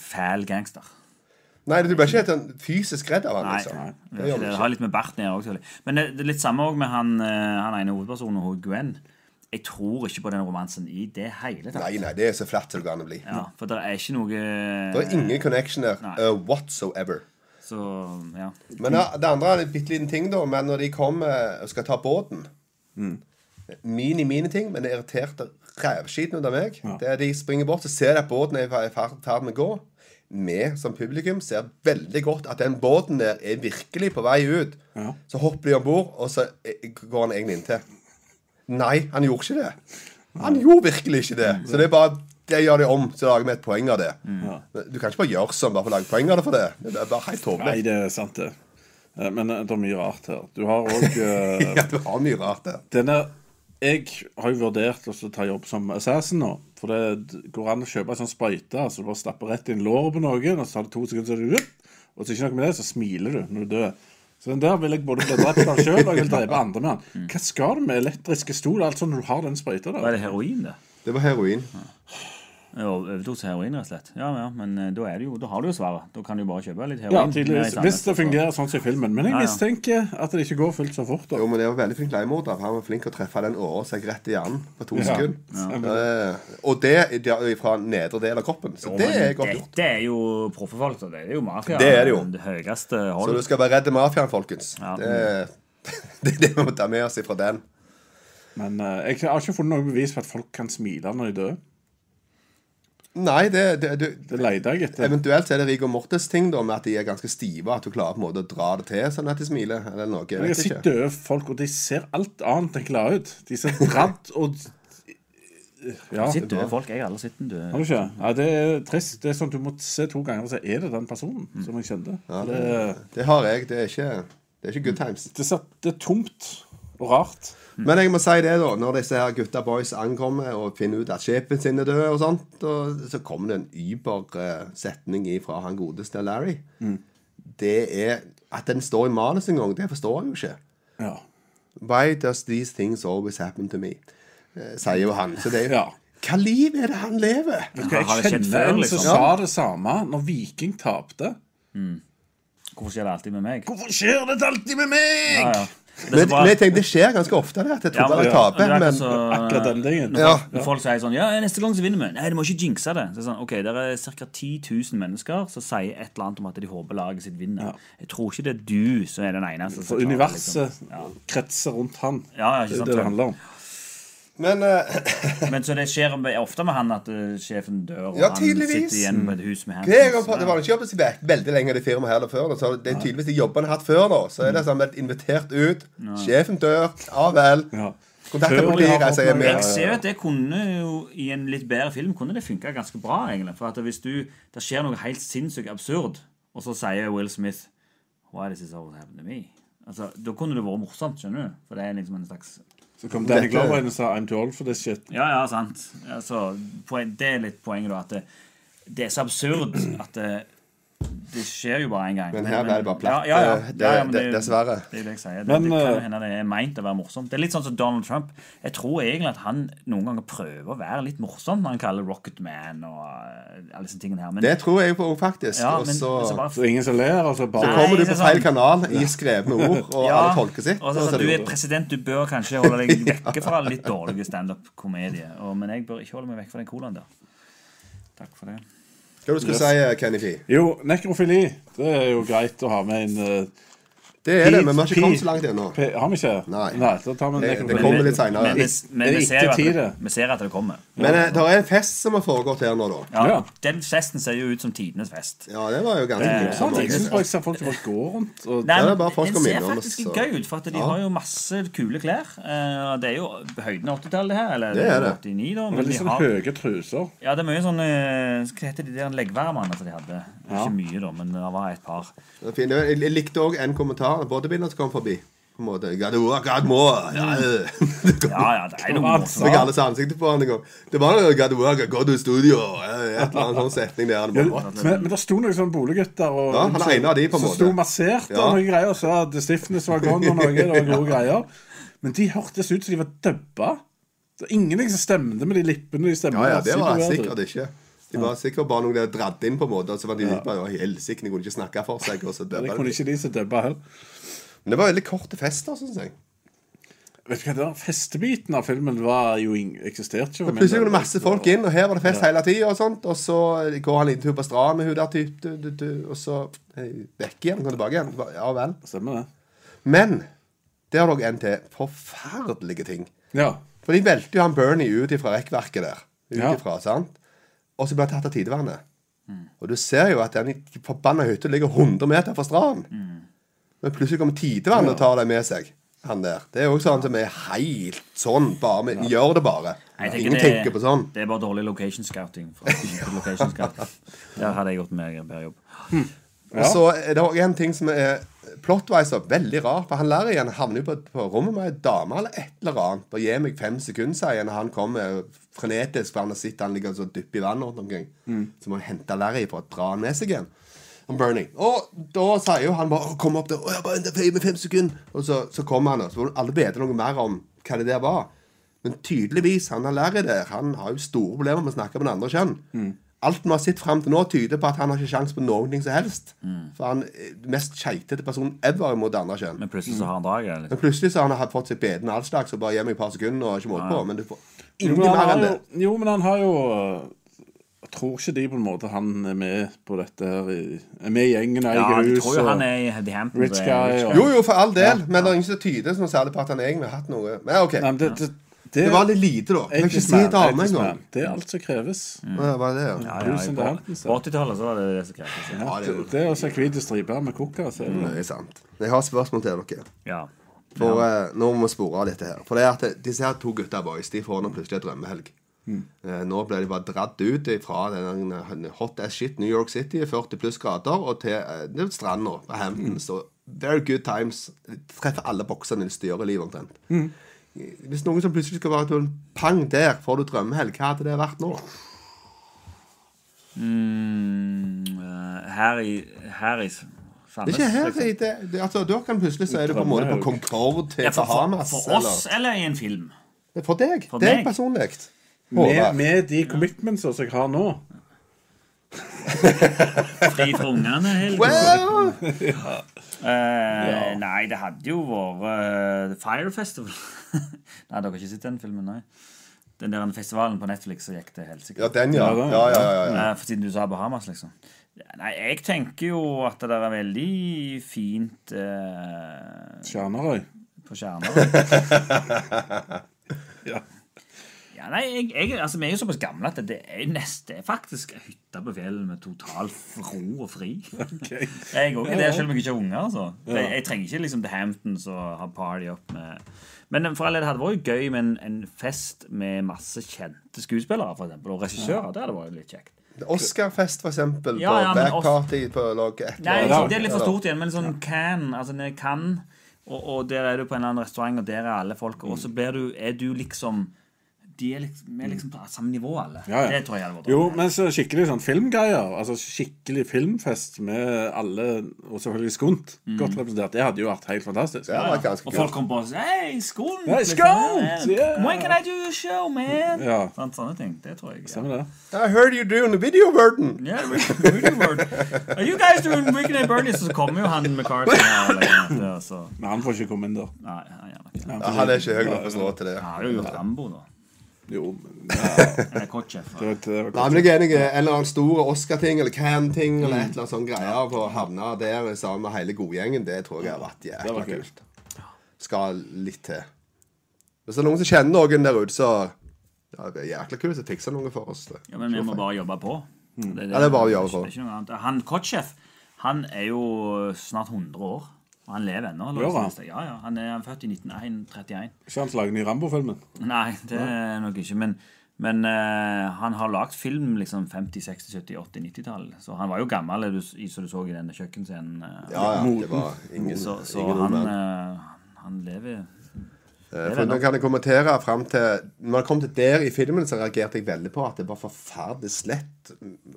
fæl gangster. Nei, du ble ikke helt sånn fysisk redd av han, Nei, liksom. det, gjør det, du har litt med barten å gjøre også, selvfølgelig. Men det, det er litt samme også med han, eh, han ene hovedpersonen, hun Gwen. Jeg tror ikke på den romansen i det hele tatt. Nei, nei, det er så flatt som det går an å bli. Ja, for det er ikke noe Det er ingen connection der Nei. uh, whatsoever. Så, ja. Men ja, det andre er en bitte liten ting, da. Men når de kommer og skal ta båten Mini-mini-ting, men det irriterte rævskiten ut av meg. Det er De springer bort, så ser de at båten er i fer- ferd med å gå. Vi som publikum ser veldig godt at den båten der er virkelig på vei ut. Så hopper de om bord, og så eh, går han egentlig inntil. Nei, han gjorde ikke det. Han gjorde virkelig ikke det. Så det er bare det gjør de om, så lager vi et poeng av det. Du kan ikke bare gjøre sånn bare for å lage poeng av det for det. Det er bare helt tåpelig. Nei, det er sant, det. Eh, Men eh, det er mye rart her. Du har òg [laughs] [laughs] Ja, det var mye rart der. Denne Jeg har jo vurdert å ta jobb som assassin nå. For det går an å kjøpe en sånn sprøyte, så du bare stapper rett inn låret på noen, og så tar det to sekunder, så er du Og så ikke noe med det, så smiler du når du dør. Så den der vil jeg både bli drept av sjøl og jeg vil drepe andre med den. Hva skal du med elektriske stol altså når du har den sprøyta Hva der? er det heroin, det? Det var heroin. Ja, Overdose heroin, rett og slett. Ja, ja, men eh, da, er det jo, da har du jo svaret. Da kan du jo bare kjøpe litt heroin. Ja, nede i tydeligvis. Sandnes, Hvis det og så- fungerer sånn som i filmen. Men jeg Ja, ja. mistenker at det ikke går fullt så fort. da. Jo, men det var veldig flink leiemorder. for Han var flink å treffe den åra seg rett i hjernen på to Ja. sekunder. Eh, og det er de- fra nedre del av kroppen. Så det er godt gjort. Dette er jo proffe folk. da. Det er jo mafia. Det er det jo. Det høyeste Så hold. du skal være redd mafiaen, folkens. Ja. Det, er- [laughs] det er det vi må ta med oss fra den. Men eh, jeg har ikke funnet noe bevis på at folk kan smile når de dør. Nei, det, det, du, Det leter jeg etter. Eventuelt så er det Rigor Mortes ting da med at de er ganske stive, at du klarer på en måte å dra det til sånn at de smiler. Eller noe. Jeg Men jeg vet sitter ikke. døde folk, og de ser alt annet enn glade ut. De ser dradd [laughs] og Ja. Sitt døde folk. Jeg har aldri sett en Har død. du ikke? Ja, det er trist. Det er sånn at Du må se to ganger og si er det den personen Mm. som jeg kjente. det, Det har jeg. Det er ikke, det er ikke good times. det, ser, det er tomt og rart. Mm. Men jeg må si det, da. Når disse her gutta boys ankommer og finner ut at sjefen sin er død, og sånt, og så kommer det en yber eh, setning fra han godeste Larry. Mm. Det er At den står i manus en gang, det forstår jeg jo ikke. Ja. Why does these things always happen to me? Eh, Sier jo han. Så det er jo Ja. Hva liv er det han lever? Jeg har det skjedd kjenner før, en liksom? som sa det samme når Viking tapte. Hvorfor skjer det alltid med meg? Hvorfor skjer dette alltid med meg?! Ja, ja. Det Men, er så bra. men jeg tenker, det skjer ganske ofte, det. At jeg Ja, tror bare jeg ja. Det taper. er Men ikke så- Akkurat den tingen. ja, Når folk sier sånn Ja, neste gang så vinner vi. Nei, du må ikke jinxe det. Så det er sånn, ok, Det er ca. 10 000 mennesker som sier et eller annet om at de håper laget sitt vinner. Jeg tror ikke det er du som er den eneste. som For klarer det, universet liksom. Ja. kretser rundt han. Ja, ja, ikke det er sant, det ja. det handler om. men eh, Men så det skjer med- ofte med han at eh, sjefen dør, og Ja, han tydeligvis. sitter igjen på et hus med Det, jeg har, Hansons. fått- det var ikke jobbet så ve- veldig lenge i det firmaet her før. Da, så det er tydeligvis de jobbene jeg har hatt før. da Så Mm. er det sånn blitt invitert ut. Sjefen dør. Ja vel. Ja. Kontakter Før de har politiet, jeg fått sier noe- Jeg mer. ser jo at det kunne jo i en litt bedre film kunne det funka ganske bra. egentlig For at hvis du, det skjer noe helt sinnssykt absurd, og så sier Will Smith Why does this always happen to me? Altså, Da kunne det vært morsomt, skjønner du. For det er liksom en slags Så kom Danny Dette- Glover inn og sa 'I'm too old for this shit'. Ja, ja, sant. Altså, poen, det er litt poenget, da. At det, det er så absurd at det, det skjer jo bare én gang. Men her ble det bare platt. Ja, ja, ja, Det- ja, ja, men det- det er jo- dessverre. Det er jo det jeg sier. Det, Men, det kan jo eh, hende det er meint å være morsomt. Det er litt sånn som Donald Trump. Jeg tror egentlig at han noen ganger prøver å være litt morsom når han kaller Rocket Man og eh, alle disse tingene her. Men, Det tror jeg på òg, faktisk. ja, og men så, altså bare Så ingen som ler, altså så bare Nei, kommer du på ikke sant. feil kanal i skrevne ord, og Ja, alle tolker sitt. og så, og så sånn, er du det er president, du bør kanskje [laughs] holde deg vekke fra litt dårlige standup-komedier. Og- Men jeg bør ikke holde meg vekk fra den colaen der. Takk for det. Hva du skulle si, eh, Kenny P? Jo, nekrofili. Det er jo greit å ha med inn eh, Det er det, men vi har Pi- ikke kommet så langt ennå. P- Har vi ikke? Nei. da tar vi Det- det nekrofili. kommer litt senere. Men, men, men Det er vi, ikke ser jo at tid, det, det. vi ser at det kommer. Men eh, det er en fest som har foregått her nå, da. Ja, Ja. Den festen ser jo ut som tidenes fest. Ja, det var jo ganske Det er sant, Jeg syns morsomt. bare jeg ser folk som bare går rundt og det Nei, er men bare folk den som ser minner om faktisk oss, så- gøy ut, for at de har jo masse kule klær. Eh, Det er jo høyden av 80-tallet her, eller Det er det. 89, da. Men Veldig de sånn har, høye truser. ja, det er mye sånn eh, Hva heter de der leggvarmene som de hadde? Ikke mye, da, men det var et par. Det er fint. Jeg jeg likte òg en kommentar, bodybuilderen som kom forbi. på en måte. God, oh, God more. Ja, eh. Mm. Ja, ja, det er noe Så fikk morsomt. alle ansiktet på han en gang. Det var noe God work, go to studio. eh, Et eller annet sånn setning der. Det var, Men, men det sto noen sånne boliggutter og, Ja, han er en av de, på en som måte. sto massert Ja. og noen greier. Og så hadde Stiffness var gone og noe. Det var gode greier. Men de hørtes ut som de var dubba. Det var Ingenting som stemte med de lippene. de stemte ja, ja, det var Superbra, du. sikkert ikke. De var sikkert bare noen der dratt inn, på en måte. Og så var de litt bare helsikne, kunne ikke snakke for seg. Og så døde Det de. kunne ikke de som dubba heller. Men det var veldig korte fester, syns jeg. Vet du hva, den festebiten av filmen var jo ing- eksisterte ikke. for min Plutselig kom del. det masse folk inn, og her var det fest hele tida. Og sånt Og så går han en liten tur på stranden med hun der, typ, du, du, du, og så eh, vekk igjen. Kommer tilbake igjen. Ja vel. Stemmer det. Men der lå en til. Forferdelige ting. Ja. For de velte jo han Bernie ut ifra rekkverket der. Ut Ja. ifra, sant? Og så ble han tatt av tidevannet. Og du ser jo at den forbanna hytta ligger 100 meter fra stranden. Men plutselig kommer tidevannet og tar det med seg. Han der. Det er jo også han som er helt sånn, bare men gjør det bare. Nei, jeg Ingen det- tenker på sånn. Det er bare dårlig location scouting. Fra location [laughs] scouting. Der hadde jeg gjort meg en bedre jobb. Og så er det også en ting som er plotwise og veldig rar. For han lærer igjen havner jo på, på rommet med ei dame eller et eller annet. Og gi meg fem sekunder, sier han. og Han kommer frenetisk, for han har sett han ligger så dypp i vannet rundt omkring. Så må han hente Larry for å dra han med seg igjen. Han Bernie. Og da sier jo han bare 'Kom opp der.' «Å, jeg bare venter på deg med fem sekunder. Og så, så kommer han, og så får alle vite noe mer om hva det der var. Men tydeligvis, han har lært det. Han har jo store problemer med å snakke med den andre kjønn. Alt vi har sett frem til nå, tyder på at han har ikke sjans på noen ting som helst. For han er den mest skeitete personen ever mot det andre kjønn. Men plutselig så har han draget. Liksom. Men plutselig så har han hatt fått seg beden av all slags, og bare gi meg et par sekunder og ikke måte på. Men du får Jo, ingenting men han mer har enn jo, det. jo, men han har jo Jeg tror ikke de på en måte han er med på dette her. i- Er med i gjengen og Ja, eier jeg hus. tror jo og- han er i The Hamptons. Rich det er guy rich og- Jo, jo, for all del, men det er ingen som tyder som særlig på at han egentlig har hatt noe. Men OK. Nei, men det, det, Det var litt lite, da. Jeg kan ikke si Eighties man, dame eighties engang. man. Det er alt som kreves. Ja, hva er det, ja? Ja, ja, Bruce and the på Hamptons, ja. på 80-tallet så var det det som krevdes. ja. Ja, det er jo- altså. Det, Mm. det å se hvite striper med altså. koka så er det- Det er sant. Jeg har spørsmål til dere. Ja. For eh, Nå må vi spore av dette her. For det er at disse her to gutta boys De får nå plutselig en drømmehelg. Eh, nå ble de bare dratt ut fra den den hot as shit New York City, 40 pluss grader, og til eh, stranda på Hamptons. Og very good times. De treffer alle boksene de styrer i livet, omtrent. Hvis noen som plutselig skal være til en pang der, får du drømmehelg, hva hadde det vært nå? Mm, eh, her i Her i Det Sandnes. er ikke her, det, det, det, altså, da kan plutselig så er du på en måte på Drømmehelg. Concorde til Ja, for, for, Bahamas. for oss eller i en film? Eller, for deg. For deg meg. personlig. med, Håvard. med de commitments som jeg har nå Fri for ungene? helt Well, Eh, Nei, det hadde jo vært eh, Fire Festival. [laughs] nei, dere har ikke sett den filmen, nei? Den der festivalen på Netflix så gikk det helt sikkert. Ja, den, ja. den, Ja, ja, ja, ja. Eh, for siden du sa Bahamas, liksom. Nei, jeg tenker jo at det der er veldig fint eh, Stjernerøy. på skjermer. [laughs] Ja. Ja, nei, jeg, jeg, altså, vi er jo såpass gamle at det er neste er faktisk ei hytte på fjellet med total ro og fri. ok. Jeg òg er det, selv om jeg ikke har unger. altså. Jeg, jeg trenger ikke liksom The Hamptons og ha party opp med Men for all del, det hadde vært gøy med en, en fest med masse kjente skuespillere for eksempel, og regissører. Det hadde vært litt kjekt. Oscar-fest, for eksempel. Ja, ja, på men Black også- Party på lag et eller Nei, annet. ikke- det er litt for stort igjen, men sånn can, altså nede i Cannes, og, og der er du på en eller annen restaurant, og der er alle folk, og så Mm. blir du, er du liksom De er liksom, vi er liksom på samme nivå, alle. Ja, ja. Det tror jeg hadde vært Jo, men så skikkelig sånn filmgreier. Altså skikkelig filmfest med alle, og selvfølgelig Skunt, godt representert. Det hadde jo vært helt fantastisk. Det var ganske Og kult. folk kom på liksom. og sa Hei, skolen! Hei, Skål! Yeah!» When can I do a show, man? Ja. Sånn. Sånn, sånne ting. Det tror jeg. Ja. Stemmer det? I heard you doing the video verden. Yeah, Rick, Rick Word. Are you guys doing Weekend at Bernie's? Så kommer jo han McCarthy her. eller noe sånt, ja, så. Men han får ikke komme inn der. Nei, han gjør nok ikke det. Ja, han er ikke høy nok for å slå til det. Han har jo gjort Rambo, da. Jo, men ja, Eller Kotchef. det, det Nei, var men jeg er enig. En eller annen stor Oscar-ting eller Can-ting eller et eller annet sånn greier på å havne der sammen med hele godgjengen, det tror jeg har vært Det jækla var kult. kult. Skal litt til. Hvis det er noen som kjenner noen der ute, så ja, det er jækla kult å fikse noe for oss. det. Ja, men vi må bare jobbe på. det, Mm. Ja, det er bare å jobbe på. det er ikke noe annet. Han Kotchef, han er jo snart 100 år. Og han lever ennå. eller Gjør han? noe sånt. Ja, ja. Han er han er født i [laughs] 1931. Ikke han som lager ny Rambo-filmen? Nei, det er nok ikke. Men, men eh, han har lagd film liksom 50-, 60-, 70-, 80-, 90-tall. Så han var jo gammel, er du- i- som du så i denne kjøkkenscenen. eh, Ja, ja, det var ingen, Så, så ingen han, ungdom. eh, Han lever Eh, For nå kan jeg kommentere frem til Når jeg kom til der i filmen, så reagerte jeg veldig på at det var forferdelig slett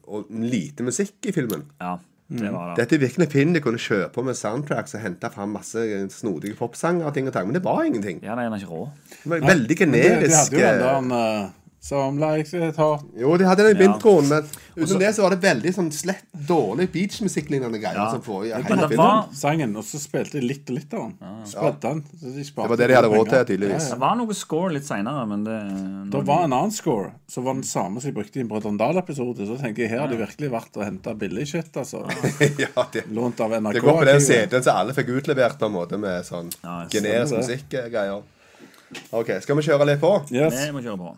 og lite musikk i filmen. Ja, Mm. det var det. Dette er virkelig en film de kunne kjøpe med soundtracks og hente fram masse snodige popsanger og ting og tang, men det var ingenting. Ja, nei, han er ikke rå. Det var veldig generisk. De hadde jo eh, den der eh, Some likes it hot Jo, de hadde den i Ja. bintroen, men utenom det så var det veldig sånn slett dårlig beachmusikklignende greier som foregikk i Men hele det filmen. var, sangen, og så spilte de litt og litt av den. Spredde den. Så de Det var det de hadde råd til, tydeligvis. det var noe score litt seinere, men det Det var en annen score som var den samme som de brukte i en Brødrene Dal-episode. Så tenker jeg her har de virkelig vært og henta billig shit, altså. [laughs] Ah. ja, det, Lånt av NRK. det går på den arkivet. CD-en som alle fikk utlevert på en måte med sånn Ja, generisk stemmer musikkgreier. OK, skal vi kjøre litt på? Yes. Vi må kjøre på.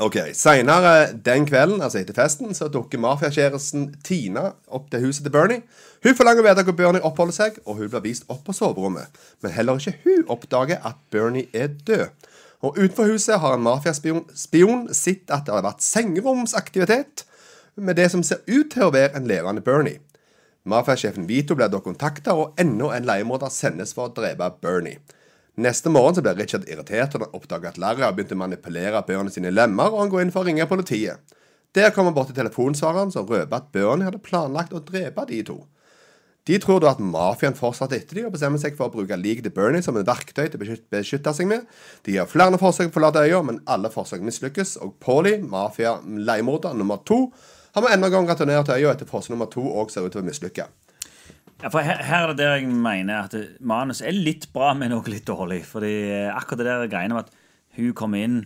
Ok, Senere den kvelden, altså etter festen, så dukker mafiakjæresten Tina opp til huset til Bernie. Hun forlanger å vite hvor Bernie oppholder seg, og hun blir vist opp på soverommet. Men heller ikke hun oppdager at Bernie er død. Og utenfor huset har en mafiaspion spion sett at det har vært sengeromsaktivitet med det som ser ut til å være en levende Bernie. Mafiasjefen Vito blir da kontakta, og enda en leiemorder sendes for å drepe Bernie. Neste morgen så blir Richard irritert og han oppdager at Larry har begynt å manipulere Bernie sine lemmer, og han går inn for å ringe politiet. Der kommer han bort til telefonsvareren som røper at Bernie hadde planlagt å drepe de to. De tror da at mafiaen fortsatte etter dem og bestemmer seg for å bruke liket til Bernie som et verktøy til å beskyt- beskytte seg med. De gjør flere forsøk på å forlate øya, men alle forsøk mislykkes, og Paulie, mafia-leiemorder nummer to, har med enda en gang returnert til øya etter forsøk nummer to og ser ut til å mislykke. Ja, for her, her er det der jeg mener at det- manus er litt bra, men også litt dårlig. Fordi eh, akkurat det der greiene med at hun kommer inn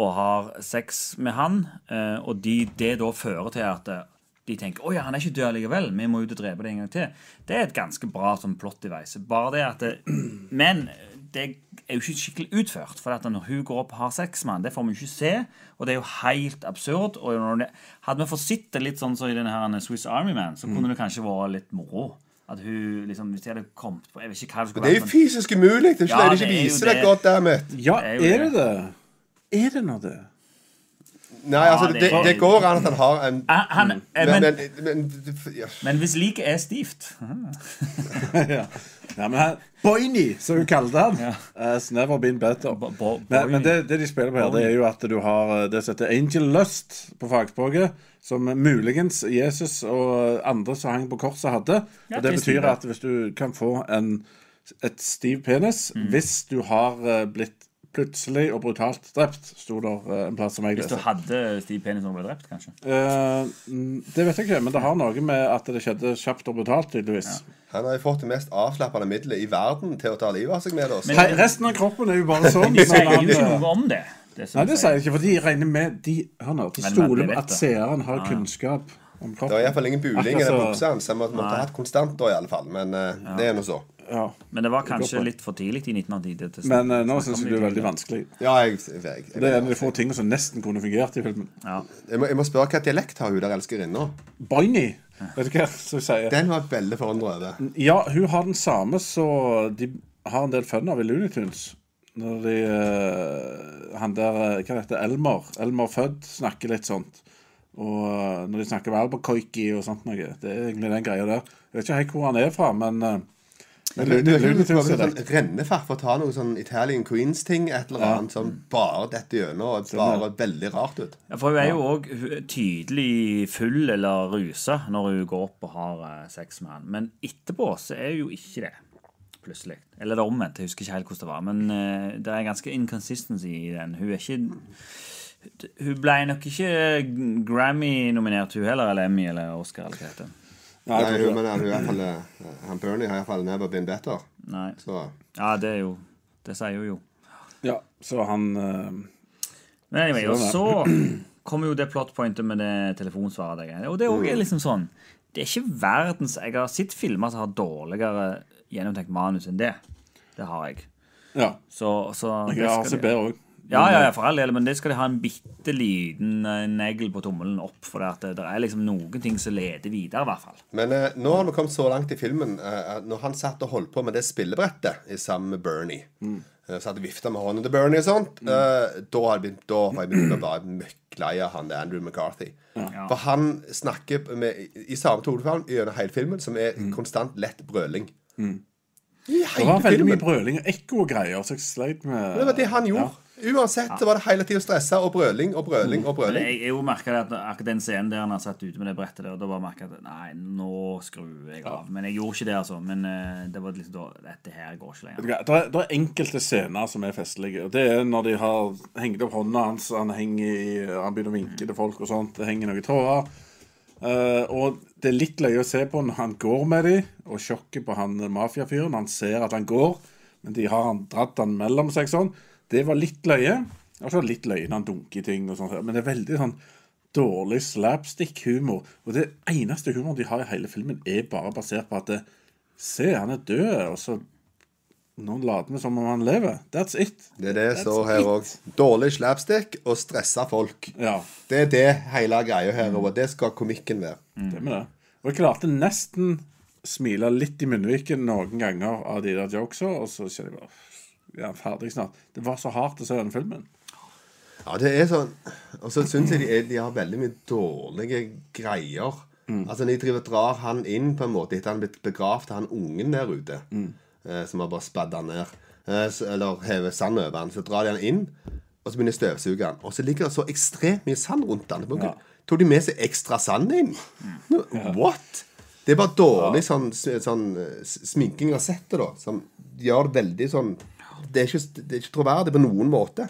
og har sex med han, eh, og de, det da fører til at eh, de tenker «Åja, han er ikke død likevel, vi må ut og drepe det en gang til. Det er et ganske bra sånn plott i veise. Bare det at det, [clears throat] Men det er jo ikke skikkelig utført. For at når hun går opp og har sex med han, det får vi jo ikke se. Og det er jo helt absurd. Og når det, hadde vi fått sett det litt sånn som i den her Swiss Army Man, så kunne det kanskje vært litt moro. At hun liksom, Hvis de hadde kommet på Jeg vet ikke hva det skulle Det er jo vært, men- fysisk umulig! Det er ikke Ja, det de det ikke er jo viser deg det. godt, dammit. Ja, Det er jo er det det? Er det nå det? [laughs] Nei, altså, Ja, det det, er- det går an at han har en Ah, han, eh, Men, men, men, men ja. men hvis liket er stivt ja. ja, men her Boiny, som hun kalte han. Has never been better. Bo- bo- men men Boiny. det, det de spiller på her, det er jo at du har eh, det som heter Angel Lust på fagspråket, som muligens Jesus og andre som hang på korset, hadde. Ja, og det det stemmer. betyr at hvis du kan få en, et stiv penis Mhm. hvis du har eh, blitt plutselig og brutalt drept, sto det en plass som jeg Hvis du leste. hadde stiv penis når du ble drept, kanskje. Eh, mm, det vet jeg ikke, men det har noe med at det skjedde kjapt og brutalt, tydeligvis. Han har jo fått det mest avslappende middelet i verden til å ta livet av seg med oss. Men- Hei, resten av kroppen er jo [laughs] bare sånn. De sier jo men han, ikke eh, noe om det. det som Nei, det de sier jeg ikke, for de regner med De, hør nå, de Men, men, stoler de på vet at det. seeren har kunnskap om Det var kroppen. iallfall ingen buling i Akkurat den så- buksa hans. Han måtte ha hatt konstant da, i alle fall. Men eh, det er nå så. Ja. Men det var kanskje poeng. litt for tidlig i 1980. til å Men eh, snakke nå om syns det jeg det er veldig tidligere. vanskelig. Ja, jeg, jeg, jeg, jeg, Det er en av de få tingene som nesten kunne fungert i filmen. Ja. må, jeg må spørre hva dialekt har hun der elskerinna? Boiny, vet du hva som sier? Den var jeg veldig forundra over. Ja, hun har den samme, så de har en del fun av i Looney Tunes. Når de eh, Han der eh, Hva heter det? Elmer? Elmer Fudd snakker litt sånt. Og eh, når de snakker om Albercoiki og sånt noe. Det er egentlig den greia der. Jeg vet ikke helt hvor han er fra, men eh, Du er ikke Looney litt Tunes sånn er det. rennefart for å ta noe sånn Italian Queens-ting, et eller annet, som bare detter gjennom og bare veldig rart ut. Ja, for hun er jo òg tydelig full eller rusa når hun går opp og har eh, sex med han. Men etterpå så er hun jo ikke det. Plutselig. Eller det er omvendt. Jeg husker ikke helt hvordan det var. Men eh, det er ganske inconsistency i den. Hun er ikke Hun ble nok ikke Grammy-nominert, hun heller, eller Emmy eller Oscar eller hva det heter. Nei, Nei, jeg tror hun, ikke det. men han, hun er i hvert fall, eh, han Bernie har iallfall never been better. Nei. Så Ja, det er jo Det sier hun jo. Ja, så han eh, Men anyway, og Så så kommer jo det plotpointet med det telefonsvaret. der greiene. Og det er Mm. også liksom sånn Det er ikke verdens Jeg har sett filmer som har dårligere gjennomtenkt manus enn det. Det har jeg. Ja. altså Så, så det Jeg har skal de- ACB òg. ja, ja, eh, ja, for all del, men det skal de ha en bitte liten eh, negl på tommelen opp. For det, at det, det er liksom noen ting som leder videre, i hvert fall. Men eh, nå har vi kommet så langt i filmen eh, at når han satt og holdt på med det spillebrettet i sammen med Bernie Mm. eh, Satt og vifta med hånden til Bernie og sånt. eh, da har jeg begynt- da har jeg begynt å være møkklei av han der Andrew McCarthy. For han snakker med, i samme tonefall gjennom hele filmen, som er konstant lett brøling. Mm. Det var veldig mye filmen. brøling og ekko og greier, så jeg sleit med Det var det han gjorde. Uansett så var det hele tida stressa og brøling og brøling og Men brøling. jeg, jeg jo merket det at akkurat den scenen der han har satt ute med det brettet der, da bare merket jeg at nei, nå skrur jeg av. Men jeg gjorde ikke det, altså. Men eh, det var liksom da Dette her går ikke lenger. Det er, det er enkelte scener som er festlige. og Det er når de har hengt opp hånda hans, han, henger i, han begynner å vinke til folk og sånt. Det henger noen tårer. Eh, og det er litt løye å se på når han går med de, og sjokket på han eh, mafiafyren. Han ser at han går, men de har han dratt han mellom seg sånn. Det var litt løye. Og så litt løye når han dunker i ting og sånt. Men det er veldig sånn dårlig slapstick-humor. Og det eneste humoren de har i hele filmen, er bare basert på at det, Se, han er død, og så nå later vi som om han lever. That's it. Det er det som står her òg. Dårlig slapstick og stressa folk. Ja, Det er det hele greia her og Det skal komikken være. det med det. Og jeg klarte nesten smile litt i munnviken noen ganger av de der jokesa, og så kjenner jeg bare "Pff, Ja, ferdig snart. Det var så hardt å se den filmen. Ja, det er sånn Og så syns jeg de, er, de har veldig mye dårlige greier. Altså, De driver og drar han inn på en måte etter han er blitt begravd av han ungen der ute. Eh, som har bare spadda ned. Eh, så, eller hevet sand over han. Så drar de han inn, og så begynner de å støvsuge han. Og så ligger det så ekstremt mye sand rundt han. Ja. Tok de med seg ekstra sand inn? What?! Det er bare dårlig sånn, sånn eh, sminking av settet, da. Som gjør det veldig sånn Det er ikke, det er ikke troverdig på noen måte.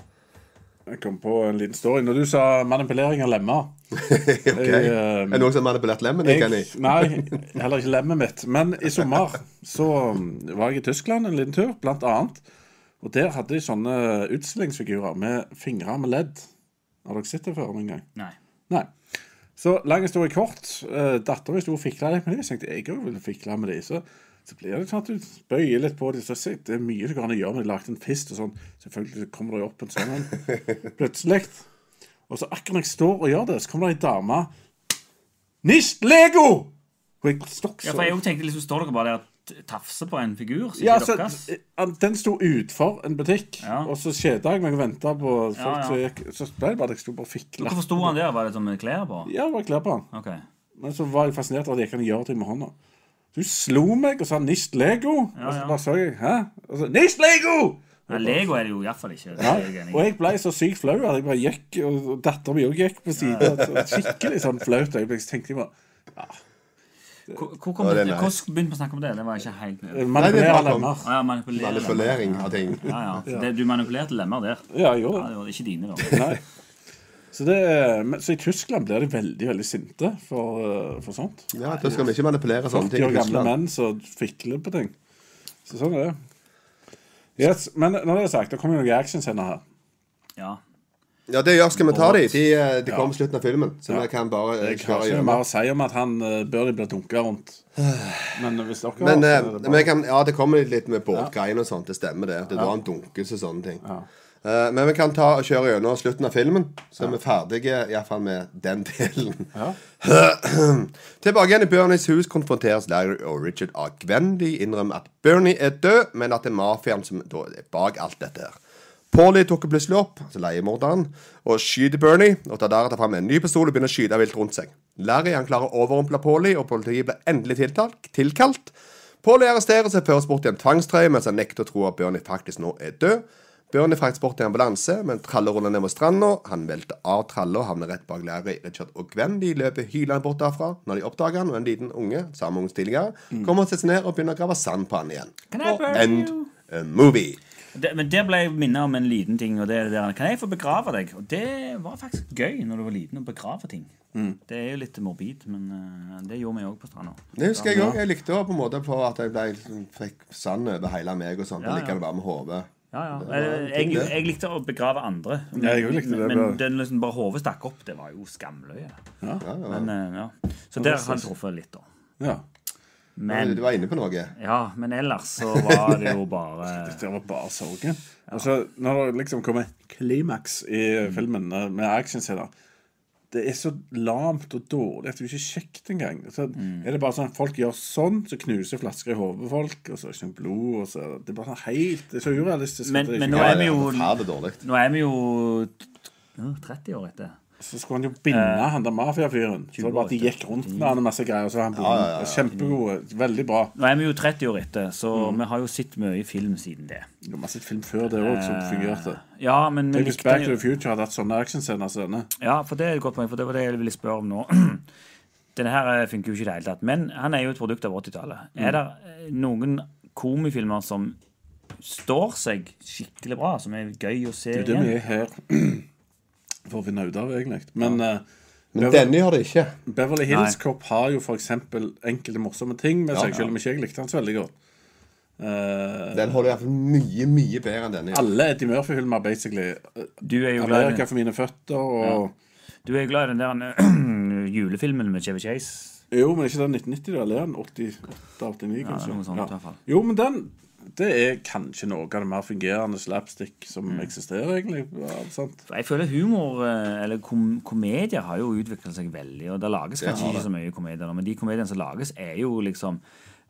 Jeg kom på en liten story. Når du sa manipulering av lemmer Ok. Jeg, eh, Er det noen som har manipulert lemmen? Jeg, jeg, [laughs] Nei, heller ikke lemmet mitt. Men i sommer så um, var jeg i Tyskland en liten tur, blant annet. Og der hadde de sånne utstillingsfigurer med fingre med ledd. Har dere sett det før noen gang? Nei. Nei. Så lang historie kort. Uh, Dattera mi sto og fikla litt med dem. Jeg tenkte jeg òg ville fikle med dem. Så, så blir det sånn at du bøyer litt på dem. Så ser jeg, det er mye du kan gjøre med de lagde en fist og sånn. Selvfølgelig så kommer det jo opp en sånn en plutselig. Og så akkurat når jeg står og gjør det, så kommer det ei dame Nicht Lego! Og jeg stokk Ja, så for jeg jo tenkte liksom, Står dere bare der og t- tafser på en figur? Som Ja, ikke så, deres? han- den sto utfor en butikk, Ja. og så kjeda jeg meg og venta på folk Ja, ja. som gikk. Så ble det bare at jeg sto bare og fikla. Hvorfor sto han der? Var det som med klær på? Ja, bare klær på han. Ok. Men så var jeg fascinert av at jeg kan gjøre ting med hånda. Så hun slo meg og sa 'nist Lego'. Og så ja. bare så jeg 'hæ?' Og så 'nist Lego'! Ja, Lego er det jo iallfall ikke. Det Ja. er jeg enig Og i. jeg ble så sykt flau at jeg bare gikk, og dattera mi òg gikk på siden. Så Skikkelig sånn flaut øyeblikk. Så tenkte jeg bare Hvor hvor kom Ja, det, det er nice. hvordan begynte vi å snakke om det? Det var ikke helt med. Manipulerer bare sånn. lemmer. Å ja, manipulere lemmer. Manipulering av ting. Ja, ja. Så Det, du manipulerte lemmer der. Ja, jeg Ja, gjorde det. det var ikke dine, da. Nei. Så, det, men- så i Tyskland blir de veldig veldig sinte for, eh, for sånt. Ja, Da skal vi ikke manipulere sånne 40 ting. år i gamle Tyskland. menn som fikler på ting. Så sånn er det. Yes, Men når det er sagt, det kommer jo noen actionscener her. Ja. Ja, det gjør skal vi ta de. De, eh, de kom i slutten av filmen. Så vi kan bare eh, Jeg har kjøre ikke noe gjennom. mer å si om at han eh, bør de bli dunka rundt. Men hvis dere har, Men, så eh, er det men bare- jeg kan, ja, det kommer litt med båtgreiene og sånt. Det stemmer, det. Det er da han dunkes og sånne ting. Eh, Men vi kan ta og kjøre gjennom slutten av filmen, så er vi ferdige iallfall med den delen. [clears throat] Tilbake igjen i Bernies hus konfronteres Larry og Richard av Gwen. De innrømmer at Bernie er død, men at det er mafiaen som da er bak alt dette her. Paulie dukker plutselig opp, altså leiemorderen, og skyter Bernie. og tar deretter fram en ny pistol og begynner å skyte vilt rundt seg. Larry han klarer å overrumple Paulie, og politiet blir endelig tiltalt, tilkalt. Paulie arresteres og føres bort i en tvangstrøye mens han nekter å tro at Bernie faktisk nå er død. Bernie fraktes bort til ambulanse, men Tralle ruller ned mot stranda. Han velter av Tralle og havner rett bak Larry, Richard og Gwen. De løper hylende bort derfra når de oppdager han, og en liten unge samme unge tidligere, kommer og setter seg ned og begynner å grave sand på han igjen. Can I Og burn end you? a movie. Det, men der ble jeg minnet om en liten ting. Og det er det der, Kan jeg få begrave deg? Og det var faktisk gøy når du var liten, å begrave ting. Mm. Det er jo litt morbid, men eh, det gjorde vi òg på stranda. Det husker jeg òg. Jeg likte å på en måte på at jeg ble, liksom fikk sand over hele meg og sånt. Ja, Ja, ja. Liker det bare med hodet. Ja, ja. Det var en Jeg, ting, jeg, det. jeg likte å begrave andre. Ja, jeg likte det, Men bra. den liksom bare hodet stakk opp. Det var jo skamløye. Men, eh, ja. Så der har jeg truffet litt, da. Ja. Men Men, Du var inne på noe. ja, men ellers så var det jo bare Det var bare sorgen. Og så når det liksom kommer klimaks i filmen eh, med actionscener Det er så lamt og dårlig at det er ikke kjekt engang. Så Mm. er det bare sånn at Folk gjør sånn, så knuser flasker i hodet på folk, og så er det ikke noe blod og så, Det er bare sånn helt Det er så urealistisk. at Men- det er men ikke- nå er vi det jo- forferdelig dårlig. Nå er vi jo t- t- ja, 30 år etter. Så skulle han jo binde Eh, han der mafiafyren. Så det var at de gikk rundt med han og masse greier. og Så var han bonden. Kjempegode. Veldig bra. Nå er vi jo 30 år etter, så Mm. vi har jo sett mye film siden det. Det var masse film før det òg som fungerte. Ja, men vi Tenk hvis Eh, likte Back den to jo. the Future hadde hatt sånne actionscener som denne. Ja, for det er et godt poeng, for det var det jeg ville spørre om nå. [clears throat] Denne her eh, funker jo ikke i det hele tatt, men han er jo et produkt av 80-tallet. Er det eh, noen komifilmer som står seg skikkelig bra, som er gøy å se Det er det vi igjen? er her [clears throat] for å finne ut av, egentlig. Men eh, Bever- Men denne har det ikke. Beverly Hills Cop har jo f.eks. enkelte morsomme ting med seg, selv om ikke jeg likte hans veldig godt. Eh, Den holder iallfall mye, mye bedre enn denne. gjør. alle Eddie Murphy-filmer, basically. Eh, Du er jo glad i Amerika for mine føtter og Du er glad i den der eh, [clears throat] julefilmen med Chevy Chase. Jo, men ikke den 1990, da? Eller er den 88-89, kanskje? noe sånt i hvert fall. Jo, men den det er kanskje noe av det mer fungerende slapstick som Mm. eksisterer, egentlig. Ja, sant? Jeg føler humor, eh, eller kom komedier, har jo utviklet seg veldig. Og det lages kanskje ikke så mye komedier nå, men de komediene som lages, er jo liksom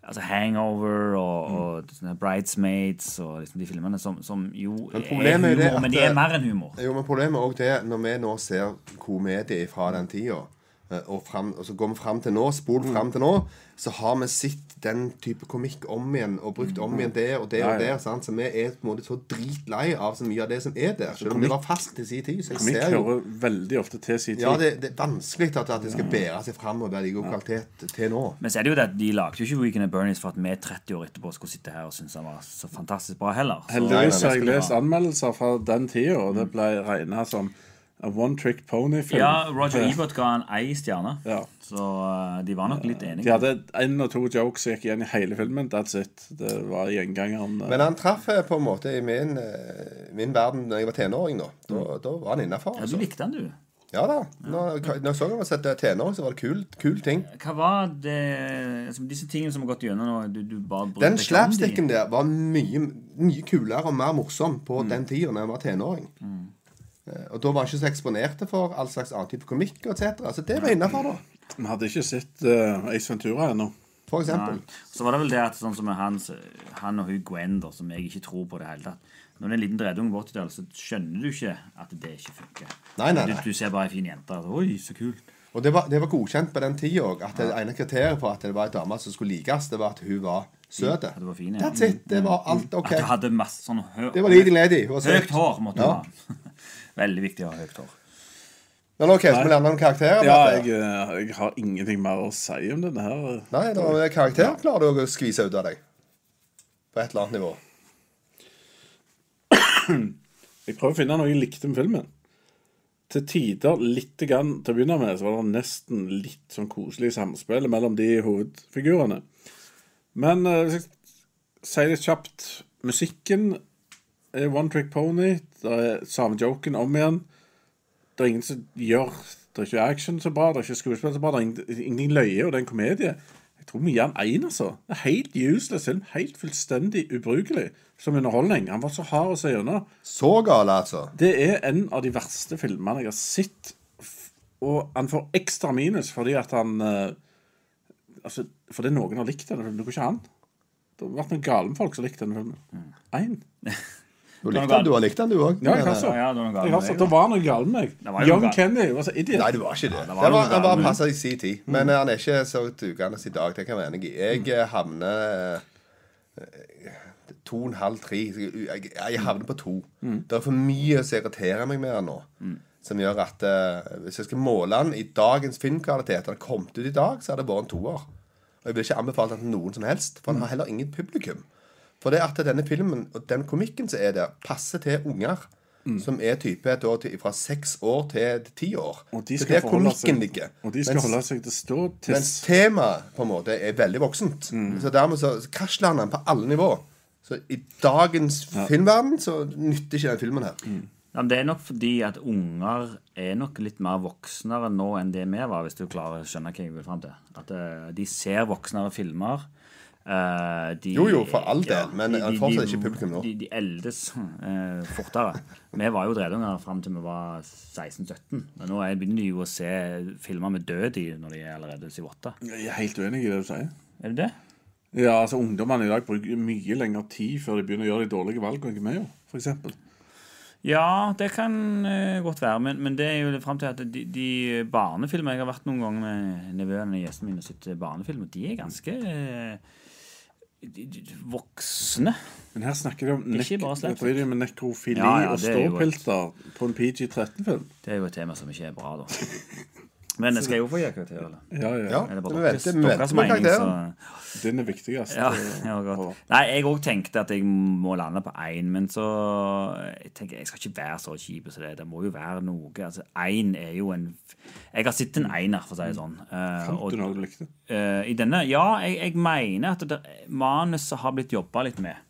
Altså Hangover og, og sånne Bridesmaids og liksom de filmene som, som jo er humor, problemet er det at men de er det- mer enn humor. Jo, men Problemet er òg det når vi nå ser komedie fra den tida, eh, og, fram, og så går vi fram til nå, spol fram til nå, så har vi sett den type komikk om igjen, og brukt om igjen det og det og der. Sant? Så vi er på en måte så dritlei av så mye av det som er der. Selv om det var fast til sin tid. Så jeg Komikk ser jo hører veldig ofte til sin tid. ja, det, det er vanskelig at, at det skal bære seg fram og være i god kvalitet til nå. Men så er det jo det at de lagde jo ikke Weekend at Bernies for at vi 30 år etterpå skulle sitte her og synes han var så fantastisk bra heller. Så, Heldigvis har Nei, jeg nei, det lest skal anmeldelser fra den tida, og Mm. det ble regna som a one trick pony-film. Ja, Roger Ebert ga han ei stjerne, Ja. så eh, de var nok litt De enige. hadde én og to jokes som gikk igjen i hele filmen. That's it. Det var gjengangeren. eh. Men han traff eh, på en måte i min, eh, min verden da jeg var tenåring. Da Da, da var han innafor. Ja, du Altså. likte han, du. Ja da. Når, når jeg så han var sett tenåring, så var det kul, kul ting. Hva var det altså, Disse tingene som har gått gjennom nå du, du bare brydde Den deg ikke om de. slapsticken der var mye, mye kulere og mer morsom på den tida da jeg var tenåring. Eh, Og da var han ikke så eksponert for all slags annen type komikk etc. Så det var innafor, da. Vi hadde ikke sett eh, Ace Ventura ennå. For eksempel. Så var det vel det at sånn som med hans, han og hun Gwen, da, som jeg ikke tror på i det hele tatt Når du er en liten dredunge på 80-tallet, så skjønner du ikke at det ikke funker. Nei, nei, nei. Du, du ser bare ei fin jente. og, Oi, så kult. Og det var, det var godkjent på den tida òg. At det ene kriteriet for at det var ei dame som skulle likes, det var at hun var søt. At hun var fin, ja. Mm. That's it. Det var alt OK. At du hadde masse sånn hø Det var leading lady. Hun var søt. Høyt hår måtte Ja. du ha. [laughs] Veldig viktig å ha høyt hår. Men OK, skal vi lære noen karakterer? Ja, Marte? jeg, eh, jeg har ingenting mer å si om denne her. Nei, da er det karakter klarer du å skvise ut av deg. På et eller annet nivå. Jeg prøver å finne noe jeg likte med filmen. Til tider, litt grann, til å begynne med, så var det nesten litt sånn koselig samspill mellom de hovedfigurene. Men eh, hvis jeg sier det kjapt Musikken er One Trick Pony. Det er samme joken om igjen. Det er ingen som gjør Det er ikke action så bra, det er ikke skuespill så bra, det er ingen- ingenting løye, og det er en komedie. Jeg tror vi gir han én, altså. Det er helt useless film. Helt fullstendig ubrukelig som underholdning. Han var så hard å se gjennom. Så gale, altså. Det er en av de verste filmene jeg har sett. f- Og han får ekstra minus fordi at han eh, Altså, fordi noen har likt denne filmen. Det går ikke an. Det har vært noen gale folk som har likt denne Mm. filmen. Én. Du likte den, du har likt den, du òg. Ja, jeg har så. Sånn Ja, ja, det var noen gale Jeg har med så. deg, Det var noe galt med var meg. jo Young noe gale. Kennedy var så idiot. Nei, det var ikke det. det det var var, noe han var galt, Mm. men- passa i sin tid. Men eh, han er ikke så dugende i dag. Det kan jeg være enig i. Mm. Jeg eh, havner eh, to og en halv, tre. Jeg, jeg havner på to. Mm. Det er for mye som irriterer meg med han nå. Som gjør at eh, hvis jeg skal måle han i dagens filmkvalitet, hadde kommet ut i dag, så hadde det vært en toer. Og jeg vil ikke anbefale den til noen som helst, for han har heller ingen publikum. For det at denne filmen og den komikken som er der, passer til unger. Mm. Som er type da, til- fra seks år til ti år. Og de Det er skal der forholde seg, komikken ligger. og de skal Mens- holde seg til stå mens tiss. temaet på en måte er veldig voksent. Så dermed så krasjler han på alle nivå. Så i dagens filmverden så nytter ikke den filmen her. Ja, men det er nok fordi at unger er nok litt mer voksnere nå enn det vi var, hvis du klarer å skjønne hva jeg vil fram til. At eh, de ser voksnere filmer. eh, de, Jo, jo, for all del, men fortsatt ikke publikum nå. De, de eldes eh, fortere. Vi var jo dredunger fram til vi var 16-17. Men nå er- begynner de jo å se filmer med død i når de er allerede 7-8. Jeg er helt uenig i det du sier. Er det det? Ja, altså Ungdommene i dag bruker mye lengre tid før de begynner å gjøre de dårlige valgene enn vi gjør, f.eks. Ja, det kan eh, godt være. Men, men det er jo fram til at de, de barnefilmer Jeg har vært noen ganger med nevøene og gjestene mine og sett eh, barnefilmer. De er ganske eh, de, de, voksne. Men her snakker de om, nek Ikke bare slett. jeg tror de er med nekrofili Ja, ja, og det er jo et- ståpilter på en PG-13-film. Det er jo et tema som ikke er bra, da. Men jeg skal jo få gi karakter, eller? Ja, ja, Ja, Er det vi bare deres, venter vi venter deres på mening, så karakteren. Den er viktigst. ja, eh, ja, å- godt. Nei, jeg òg tenkte at jeg må lande på én, men så eh, Jeg tenker, jeg skal ikke være så kjip som det. er. Det må jo være noe. Altså, Én er jo en Jeg har sett en einer, for å si det sånn. Eh, Fant og du noe du likte? Eh, I denne, ja, jeg, jeg mener at det, manuset har blitt jobba litt med.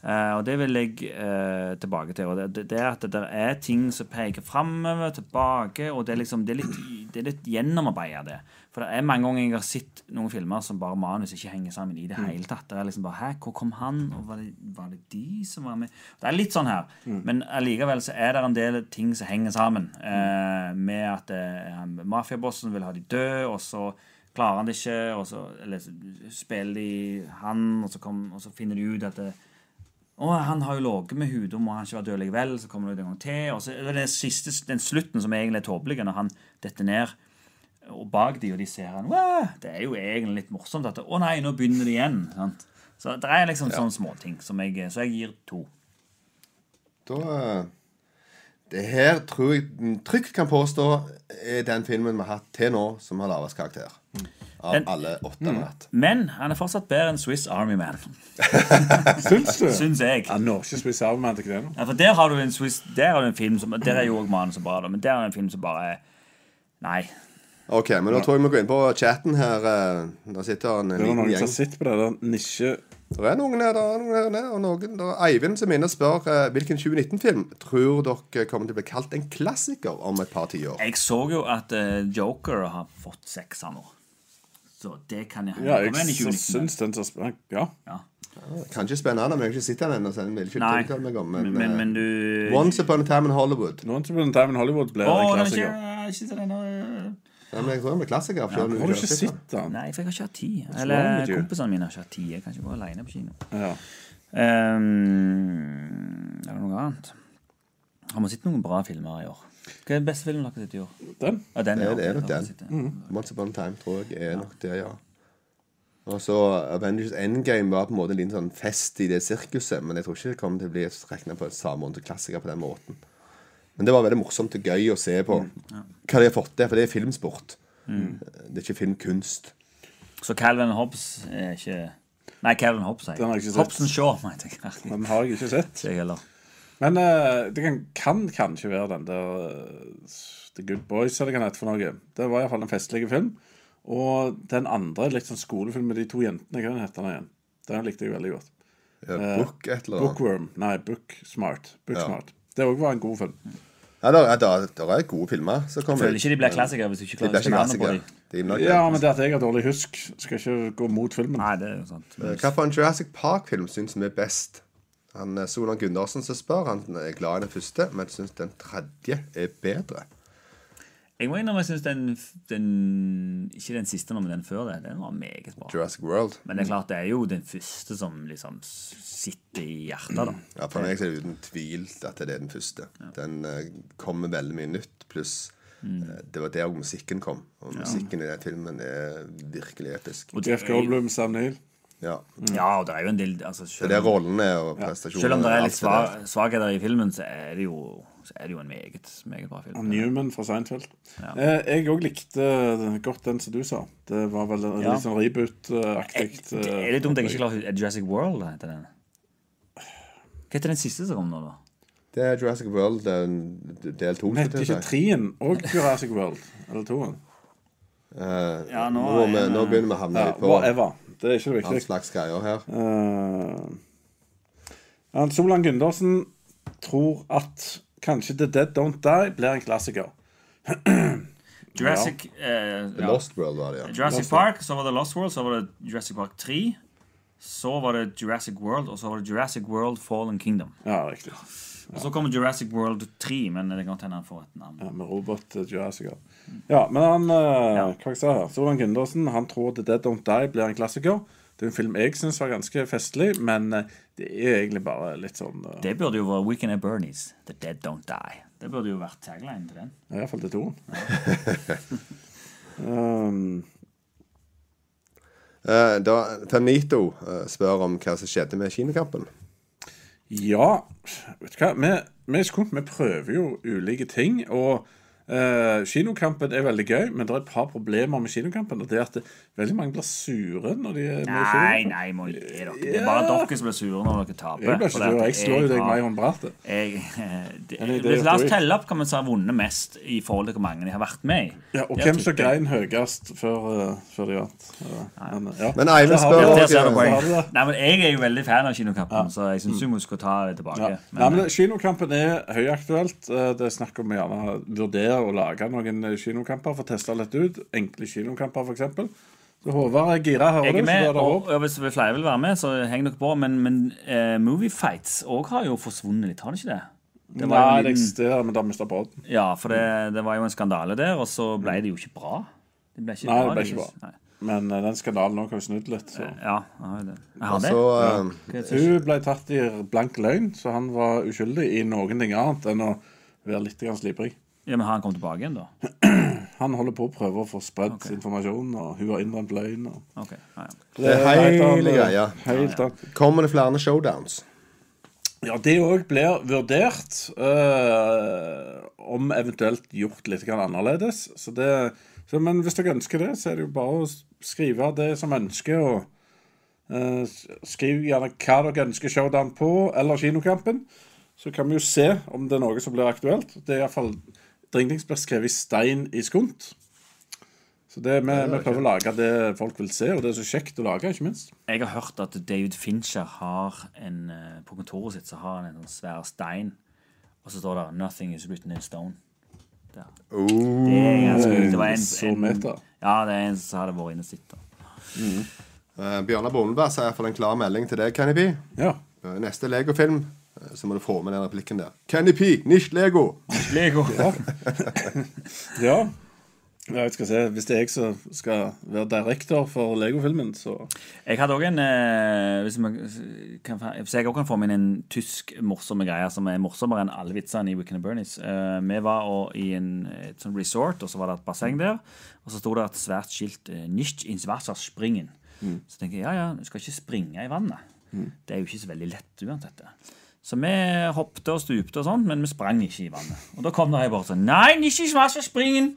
Eh, og det vil jeg eh, tilbake til. Og det, det, det er at det er ting som peker framover, tilbake, og det er, liksom, det er litt, det er litt gjennomarbeida, det. For det er mange ganger jeg har sett noen filmer som bare manus ikke henger sammen i det hele tatt. Det er liksom bare, Hæ, hvor kom han, og var det, var det de som var med? Det er litt sånn her. Men allikevel så er det en del ting som henger sammen. Eh, med at eh, han- mafiabossen vil ha de døde, og så klarer han det ikke, og så eller, så spiller de han, og så, kom, og så finner de ut at eh, det, å, han har jo ligget med henne, da må han ikke være død likevel. Så kommer det ut en gang til. Og så er det den, siste, den slutten som egentlig er tåpelig, når han detter ned og bak de, og de ser han. «Wow!» Det er jo egentlig litt morsomt at det, Å nei, nå begynner det igjen. Sant? Så det er liksom sånne småting. som jeg- Så jeg gir to. Da eh, Det her tror jeg mm, trygt kan påstå er den filmen vi har hatt til nå som har lavest karakter. Av Den- alle åtte vi har hatt. Men han er fortsatt bedre enn Swiss Army Man, Syns du? syns jeg. Ja, nå er ikke Swiss Army Man til ikke det nå. Ja, for der har du en Swiss Der har du en film som Der er jo også manuset bra, da, men der er det en film som bare er Nei. Ok, men da tror jeg vi går inn på chatten her. eh, Der sitter en Det er liten noen som gjeng. har sett på det der nisje... Det er noen her, det er noen her, det er noen der. Eivind som er inne og spør eh, hvilken 2019-film tror dere kommer til å bli kalt en klassiker om et par tiår. Jeg så jo at eh, Joker har fått seks her nå. Så det kan jeg Ja, Kom igjen i jeg 2019. syns den som spør Ja. ja. Kanskje spennende, men jeg har ikke sett den ennå. så den vil ikke Nei, tiltale meg om, men, Men, men, eh, du Once Upon a Time in Hollywood. Nå er det Time in Hollywood blir Å, en den er ikke, klassiker. ikke så den er- Ja, men jeg tror den blir klassiker. selv om vi Har du har ikke sett den. sett den? Nei, for jeg har ikke hatt tid. wrong Eller with you? kompisene mine har ikke hatt tid. Jeg kan ikke gå alene på kino. Ja. Ehm, er det noe annet? Har vi sett noen bra filmer i år? Hva er den beste filmen dere har sett i år? Den? Ja, den, Ja, ja. det er nok Dere har den. Mm. sett Once Upon a Time tror jeg er nok det, ja. Og så Avengers Endgame var på en måte en liten sånn fest i det sirkuset, men jeg tror ikke det kommer til å bli regna på samme måte klassiker på den måten. Men det var veldig morsomt og gøy å se på hva de har fått til, for det er filmsport. Mm. Det er ikke filmkunst. Så Calvin Hobbes er ikke Nei, Calvin Hobbes, sier Den har jeg jeg. ikke sett. Hobson Shaw, mente jeg. Ikke Den har jeg ikke sett. jeg heller. Men eh, det kan, kan kanskje være den der eh, The Good Boys, eller hva det heter for noe. Det var iallfall en festlig film. Og den andre er litt sånn skolefilm med de to jentene. Hva heter den igjen? Den likte jeg veldig godt. Ja, Eh, Book et eller annet. Bookworm. Nei, Booksmart. Booksmart. Det òg var en god film. Ja, der, er- der, der er gode filmer som kommer. Føler ikke de blir klassikere hvis du ikke De sånn blir ikke klarer å huske navnet på klassikere. dem. De er nok- Ja, men det at jeg har dårlig husk, skal ikke gå mot filmen. Nei, det er jo sant. Hva for en Jurassic Park-film syns vi er best? Han, eh, Solan Gundersen som spør, han eh, er glad i den første, men syns den tredje er bedre. Jeg må innrømme jeg syns den, den Ikke den siste, nå, men den før det. Den var meget bra. Jurassic World. Men det er klart, det er jo den første som liksom s- sitter i hjertet, da. Ja, For meg så er det uten tvil at det er den første. Den eh, kom med veldig mye nytt, pluss Mm. eh, det var der musikken kom. Og musikken i den filmen er virkelig episk. Og det Jeff er jo, Goldblum, Sam Neill. Ja. ja, og det er jo en del altså, Det er selv, rollene og prestasjonene. selv om det og er alt litt der. sva- svakheter i filmen, så er det jo, så er det jo en meget, meget bra film. Newman fra Seinfeld. Ja. Eh, jeg òg likte eh, godt den som du sa. Det var vel en Ja. litt sånn Jeg, reboot-aktig. Eh, det er litt dumt jeg ikke klarer å hu- Er det Jurassic World da, heter den? Hva heter den siste som kom nå, da? Det er Jurassic World eh, del to. Den heter skulle jeg ikke si. Trien og Jurassic World. Eller toen. Eh, Ja, nå, nå er må vi- jeg- nå begynner vi å havne Ja, litt på whatever. Det er ikke det all viktige. slags greier her. Eh, ja, Solan Gundersen tror at kanskje The Dead Don't Die blir en klassiker. Jurassic, eh, ja. Lost World var det, ja. Jurassic Park, så var det Lost World, så var det Jurassic Park 3. Så var det Jurassic World, og så var det Jurassic World Fallen Kingdom. Ja, riktig. Og så kommer Jurassic World 3, men det kan godt hende han får et navn. Ja, med robot eh, Jurassic. ja. Ja, men han eh, Hva jeg sa her? Solan Gundersen han tror The Dead Don't Die blir en klassiker. Det er en film jeg syns var ganske festlig, men eh, det er egentlig bare litt sånn eh, Det burde jo vært Weekend at Bernies. The Dead Don't Die. Det burde jo vært tagline til den. Ja, Iallfall til toen. um, Eh, da, Tanito eh, spør om hva som skjedde med kinokampen. Ja, vet du hva? Vi, vi, er skunk, vi prøver jo ulike ting. Og eh, kinokampen er veldig gøy, men det er et par problemer med kinokampen. Og det er at det, veldig mange blir sure når de er med i Nei, kinokampen. nei, må gi dere. Det er bare dere som blir sure når dere taper. Jeg blir for ikke sur. det at Jeg slår jo deg har- med i håndbratet. [laughs] jeg, det det, er La oss rett og slett. telle opp hva vi har vunnet mest i forhold til hvor mange de har vært med i. Ja, og Der hvem tipper som jeg- grein høyest før, eh, før de vant. Ja, men, ja. Men Eivind Der har vi spør- det. Der ser du har Ja, du poeng. det. Nei, men Jeg er jo veldig fan av Kinokampen, så jeg syns hun skal ta det tilbake. Ja. Nei, eh, men det- Kinokampen er høyaktuelt. Eh, Det er snakk om å gjerne vurdere å lage noen eh, kinokamper for å teste litt ut. Enkle kinokamper, f.eks. Så Håvard er gira, hører jeg du? er Så med, da er det og, håp. og hvis flere vil være med, så heng dere på. Men, men eh, Moviefights òg har jo forsvunnet litt, har det ikke det? det var Nei, jo en det liten- eksisterer, men det har mista brodden. Ja, for det, det var jo en skandale der, og så ble det jo ikke bra. Det ble ikke Nei, bra. det ble ikke bra. Nei. Men eh, den skandalen nå har jo snudd litt. Så. Ja, jeg har jo det. Jeg har Og det. så eh, Hun ble tatt i blank løgn, så han var uskyldig i noen ting annet enn å være litt grann slibrig. Ja, men har han kommet tilbake igjen, da? Han holder på å prøve å få spredd informasjon, og hun har innrømt løgn. Og... Ok, ja, ja. Det er helt hele annet. greia. Helt annet. kommer det flere showdowns. Ja, det òg blir vurdert eh, om eventuelt gjort litt grann annerledes. Så det, så, men hvis dere ønsker det, så er det jo bare å s- skrive det som ønsker. og eh, s- Skriv gjerne hva dere ønsker showdown på, eller kinokampen. Så kan vi jo se om det er noe som blir aktuelt. Det er iallfall Dringdings blir skrevet i stein i skunt. Så det, vi, vi prøver å lage det folk vil se, og det er så kjekt å lage, ikke minst. Jeg har hørt at David Fincher har en eh, På kontoret sitt så har han en sånn svær stein, og så står det 'Nothing is written in stone'. Der. Det er ganske kult. Det var en, Så en, meta. ja, det er en som hadde vært inne og sett det. Eh, Bjørnar Bondeberg sier iallfall en klar melding til deg, Kenny P. Ja. Eh, Neste Lego-film, eh, så må du få med den replikken der. Kenny P, nicht Lego! Lego. Ja. Ja, Jeg skal se. Hvis det er jeg som skal være direktør for Lego-filmen, så Jeg hadde òg en eh, Hvis jeg kan, hvis jeg også kan få med inn en tysk morsomme greie som er morsommere enn alle vitsene i Weekend at Bernies. Eh, vi var og, i en, et sånt resort, og så var det et basseng der. Og så sto det et svært skilt eh, 'Nicht ins Wasser springen'. Så tenker jeg ja, ja, du skal ikke springe i vannet. Det er jo ikke så veldig lett uansett. det. Så vi hoppet og stupte og sånn, men vi sprang ikke i vannet. Og da kom det ei bort sånn 'Nei, nicht ins Wasser springen'.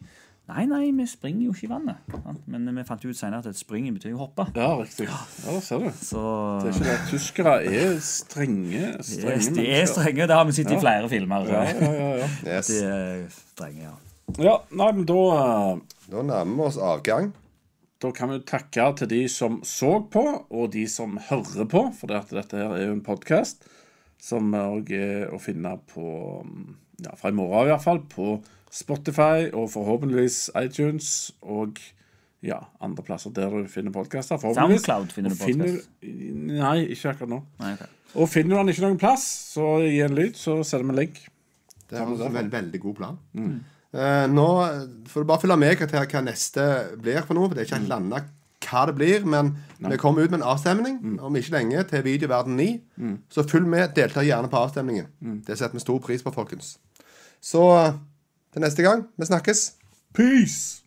Nei, nei, vi springer jo ikke i vannet. sant? Men vi fant jo ut senere at et springen betyr jo hoppe. Ja, riktig. Ja, ser du. Det Så er ikke det. Tyskere er strenge. strenge Yes, de er mennesker. strenge. Det har vi sett i flere filmer. Ja, ja, ja, ja. Yes. De er strenge, ja. ja, nei, men da eh, Da nærmer vi oss avgang. Da kan vi takke til de som så på, og de som hører på, for det at dette her er jo en podkast som òg er å finne på mm, ja, fra i morgen i hvert fall, på Spotify og forhåpentligvis iTunes og ja, andre plasser der du finner podkaster. SoundCloud finner du podcast. Nei, ikke akkurat nå. Nei, ok. Og finner du den ikke noen plass, så gi en lyd, så sender vi en link. Det er en veld, veldig god plan. Eh, nå får du bare følge med til hva neste blir for noe. For det er ikke helt landa hva det blir, men vi kommer ut med en avstemning om ikke lenge til Videoverden 9. Så følg med, delta gjerne på avstemningen. Det setter vi stor pris på, folkens. Så eh, til neste gang. Vi snakkes. Peace!